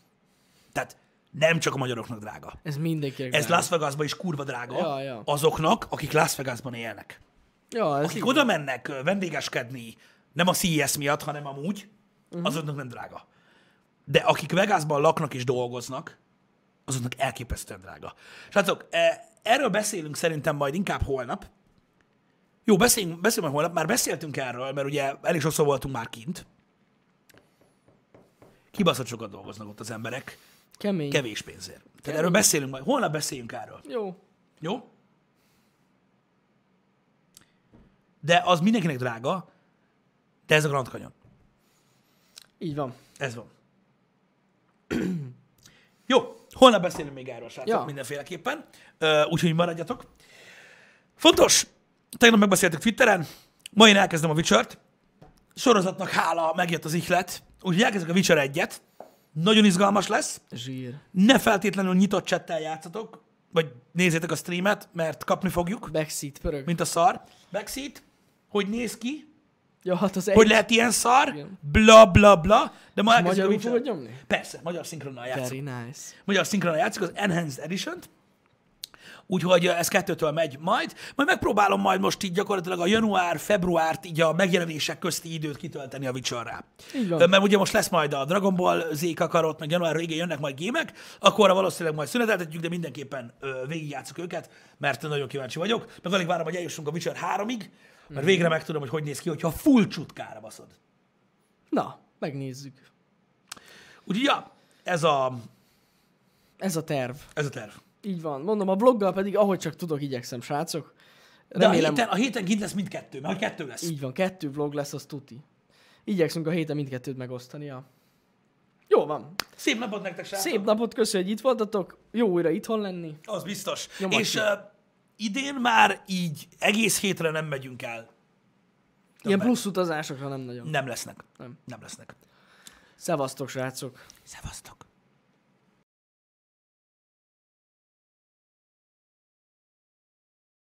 Speaker 2: Tehát nem csak a magyaroknak drága.
Speaker 1: Ez mindenkinek.
Speaker 2: Ez
Speaker 1: drága.
Speaker 2: Las Vegasban is kurva drága
Speaker 1: Ja, ja.
Speaker 2: azoknak, akik Las Vegasban élnek.
Speaker 1: Ja, ez
Speaker 2: Akik
Speaker 1: így.
Speaker 2: oda mennek ö, vendégeskedni, nem a CES miatt, hanem amúgy, uh-huh. azoknak nem drága. De akik Vegasban laknak és dolgoznak, azoknak elképesztően drága. Srácok, e, erről beszélünk szerintem majd inkább holnap. Jó, beszéljünk, beszélünk majd holnap, már beszéltünk erről, mert ugye elég sokszor voltunk már kint. Kibaszott sokat dolgoznak ott az emberek,
Speaker 1: Kemény.
Speaker 2: kevés pénzért. Tehát erről beszélünk majd, holnap beszéljünk erről.
Speaker 1: Jó.
Speaker 2: Jó? De az mindenkinek drága, de ez a Grand Canyon.
Speaker 1: Így van.
Speaker 2: Ez van. Jó, holnap beszélünk még erről, srácok, ja.
Speaker 1: Ja.
Speaker 2: mindenféleképpen. Ö, Úgyhogy maradjatok. Fontos, tegnap megbeszéltük Twitteren, ma én elkezdem a Witcher-t. Sorozatnak hála megjött az ihlet, úgyhogy elkezdek a Witcher egyet. Nagyon izgalmas lesz
Speaker 1: Zsír.
Speaker 2: ne feltétlenül nyitott csettel játszatok, vagy nézzétek a streamet, mert kapni fogjuk,
Speaker 1: Backseat pörög.
Speaker 2: mint a szar. Backseat, hogy néz ki,
Speaker 1: Ja, hát az
Speaker 2: hogy
Speaker 1: egy
Speaker 2: lehet ilyen szar,
Speaker 1: Igen.
Speaker 2: bla bla bla, de ma elkezdjük a
Speaker 1: magyarul
Speaker 2: Witcher.
Speaker 1: fogod nyomni?
Speaker 2: Persze, magyar szinkronnal játszunk.
Speaker 1: Very nice.
Speaker 2: Magyar szinkronnal játszunk az Enhanced Edition-t, Úgyhogy eh, ez kettőtől megy majd. Majd megpróbálom majd most így gyakorlatilag a január-februárt így a megjelenések közti időt kitölteni a Witcherrá.
Speaker 1: Így van.
Speaker 2: Ö, Mert ugye most lesz majd a Dragon Ball Z kakarot, meg január végén jönnek majd gémek, akkor valószínűleg majd szüneteltetjük, de mindenképpen ö, végigjátszuk őket, mert nagyon kíváncsi vagyok. Meg alig várom, hogy eljussunk a Witcher 3-ig, mert végre megtudom, hogy hogy néz ki, hogyha full csutkára baszod.
Speaker 1: Na, megnézzük.
Speaker 2: Úgyhogy ja, ez a,
Speaker 1: Ez a terv.
Speaker 2: ez a terv.
Speaker 1: Így van. Mondom, a bloggal pedig, ahogy csak tudok, igyekszem, srácok.
Speaker 2: De
Speaker 1: Remélem,
Speaker 2: a héten, a héten kint lesz mindkettő, mert hogy kettő lesz.
Speaker 1: így van, kettő vlog lesz, az tuti. Igyekszünk a héten mindkettőt megosztani. Ja. Jó van.
Speaker 2: Szép napot nektek, srácok!
Speaker 1: Szép napot, köszönjük, hogy itt voltatok. Jó újra itthon lenni.
Speaker 2: Az biztos.
Speaker 1: Nyomat
Speaker 2: és
Speaker 1: ki.
Speaker 2: uh, idén már így egész hétre nem megyünk el.
Speaker 1: Ilyen
Speaker 2: Többet.
Speaker 1: plusz utazásokra nem nagyon.
Speaker 2: Nem lesznek.
Speaker 1: Nem.
Speaker 2: Nem lesznek.
Speaker 1: Szevasztok, srácok.
Speaker 2: Szevasztok!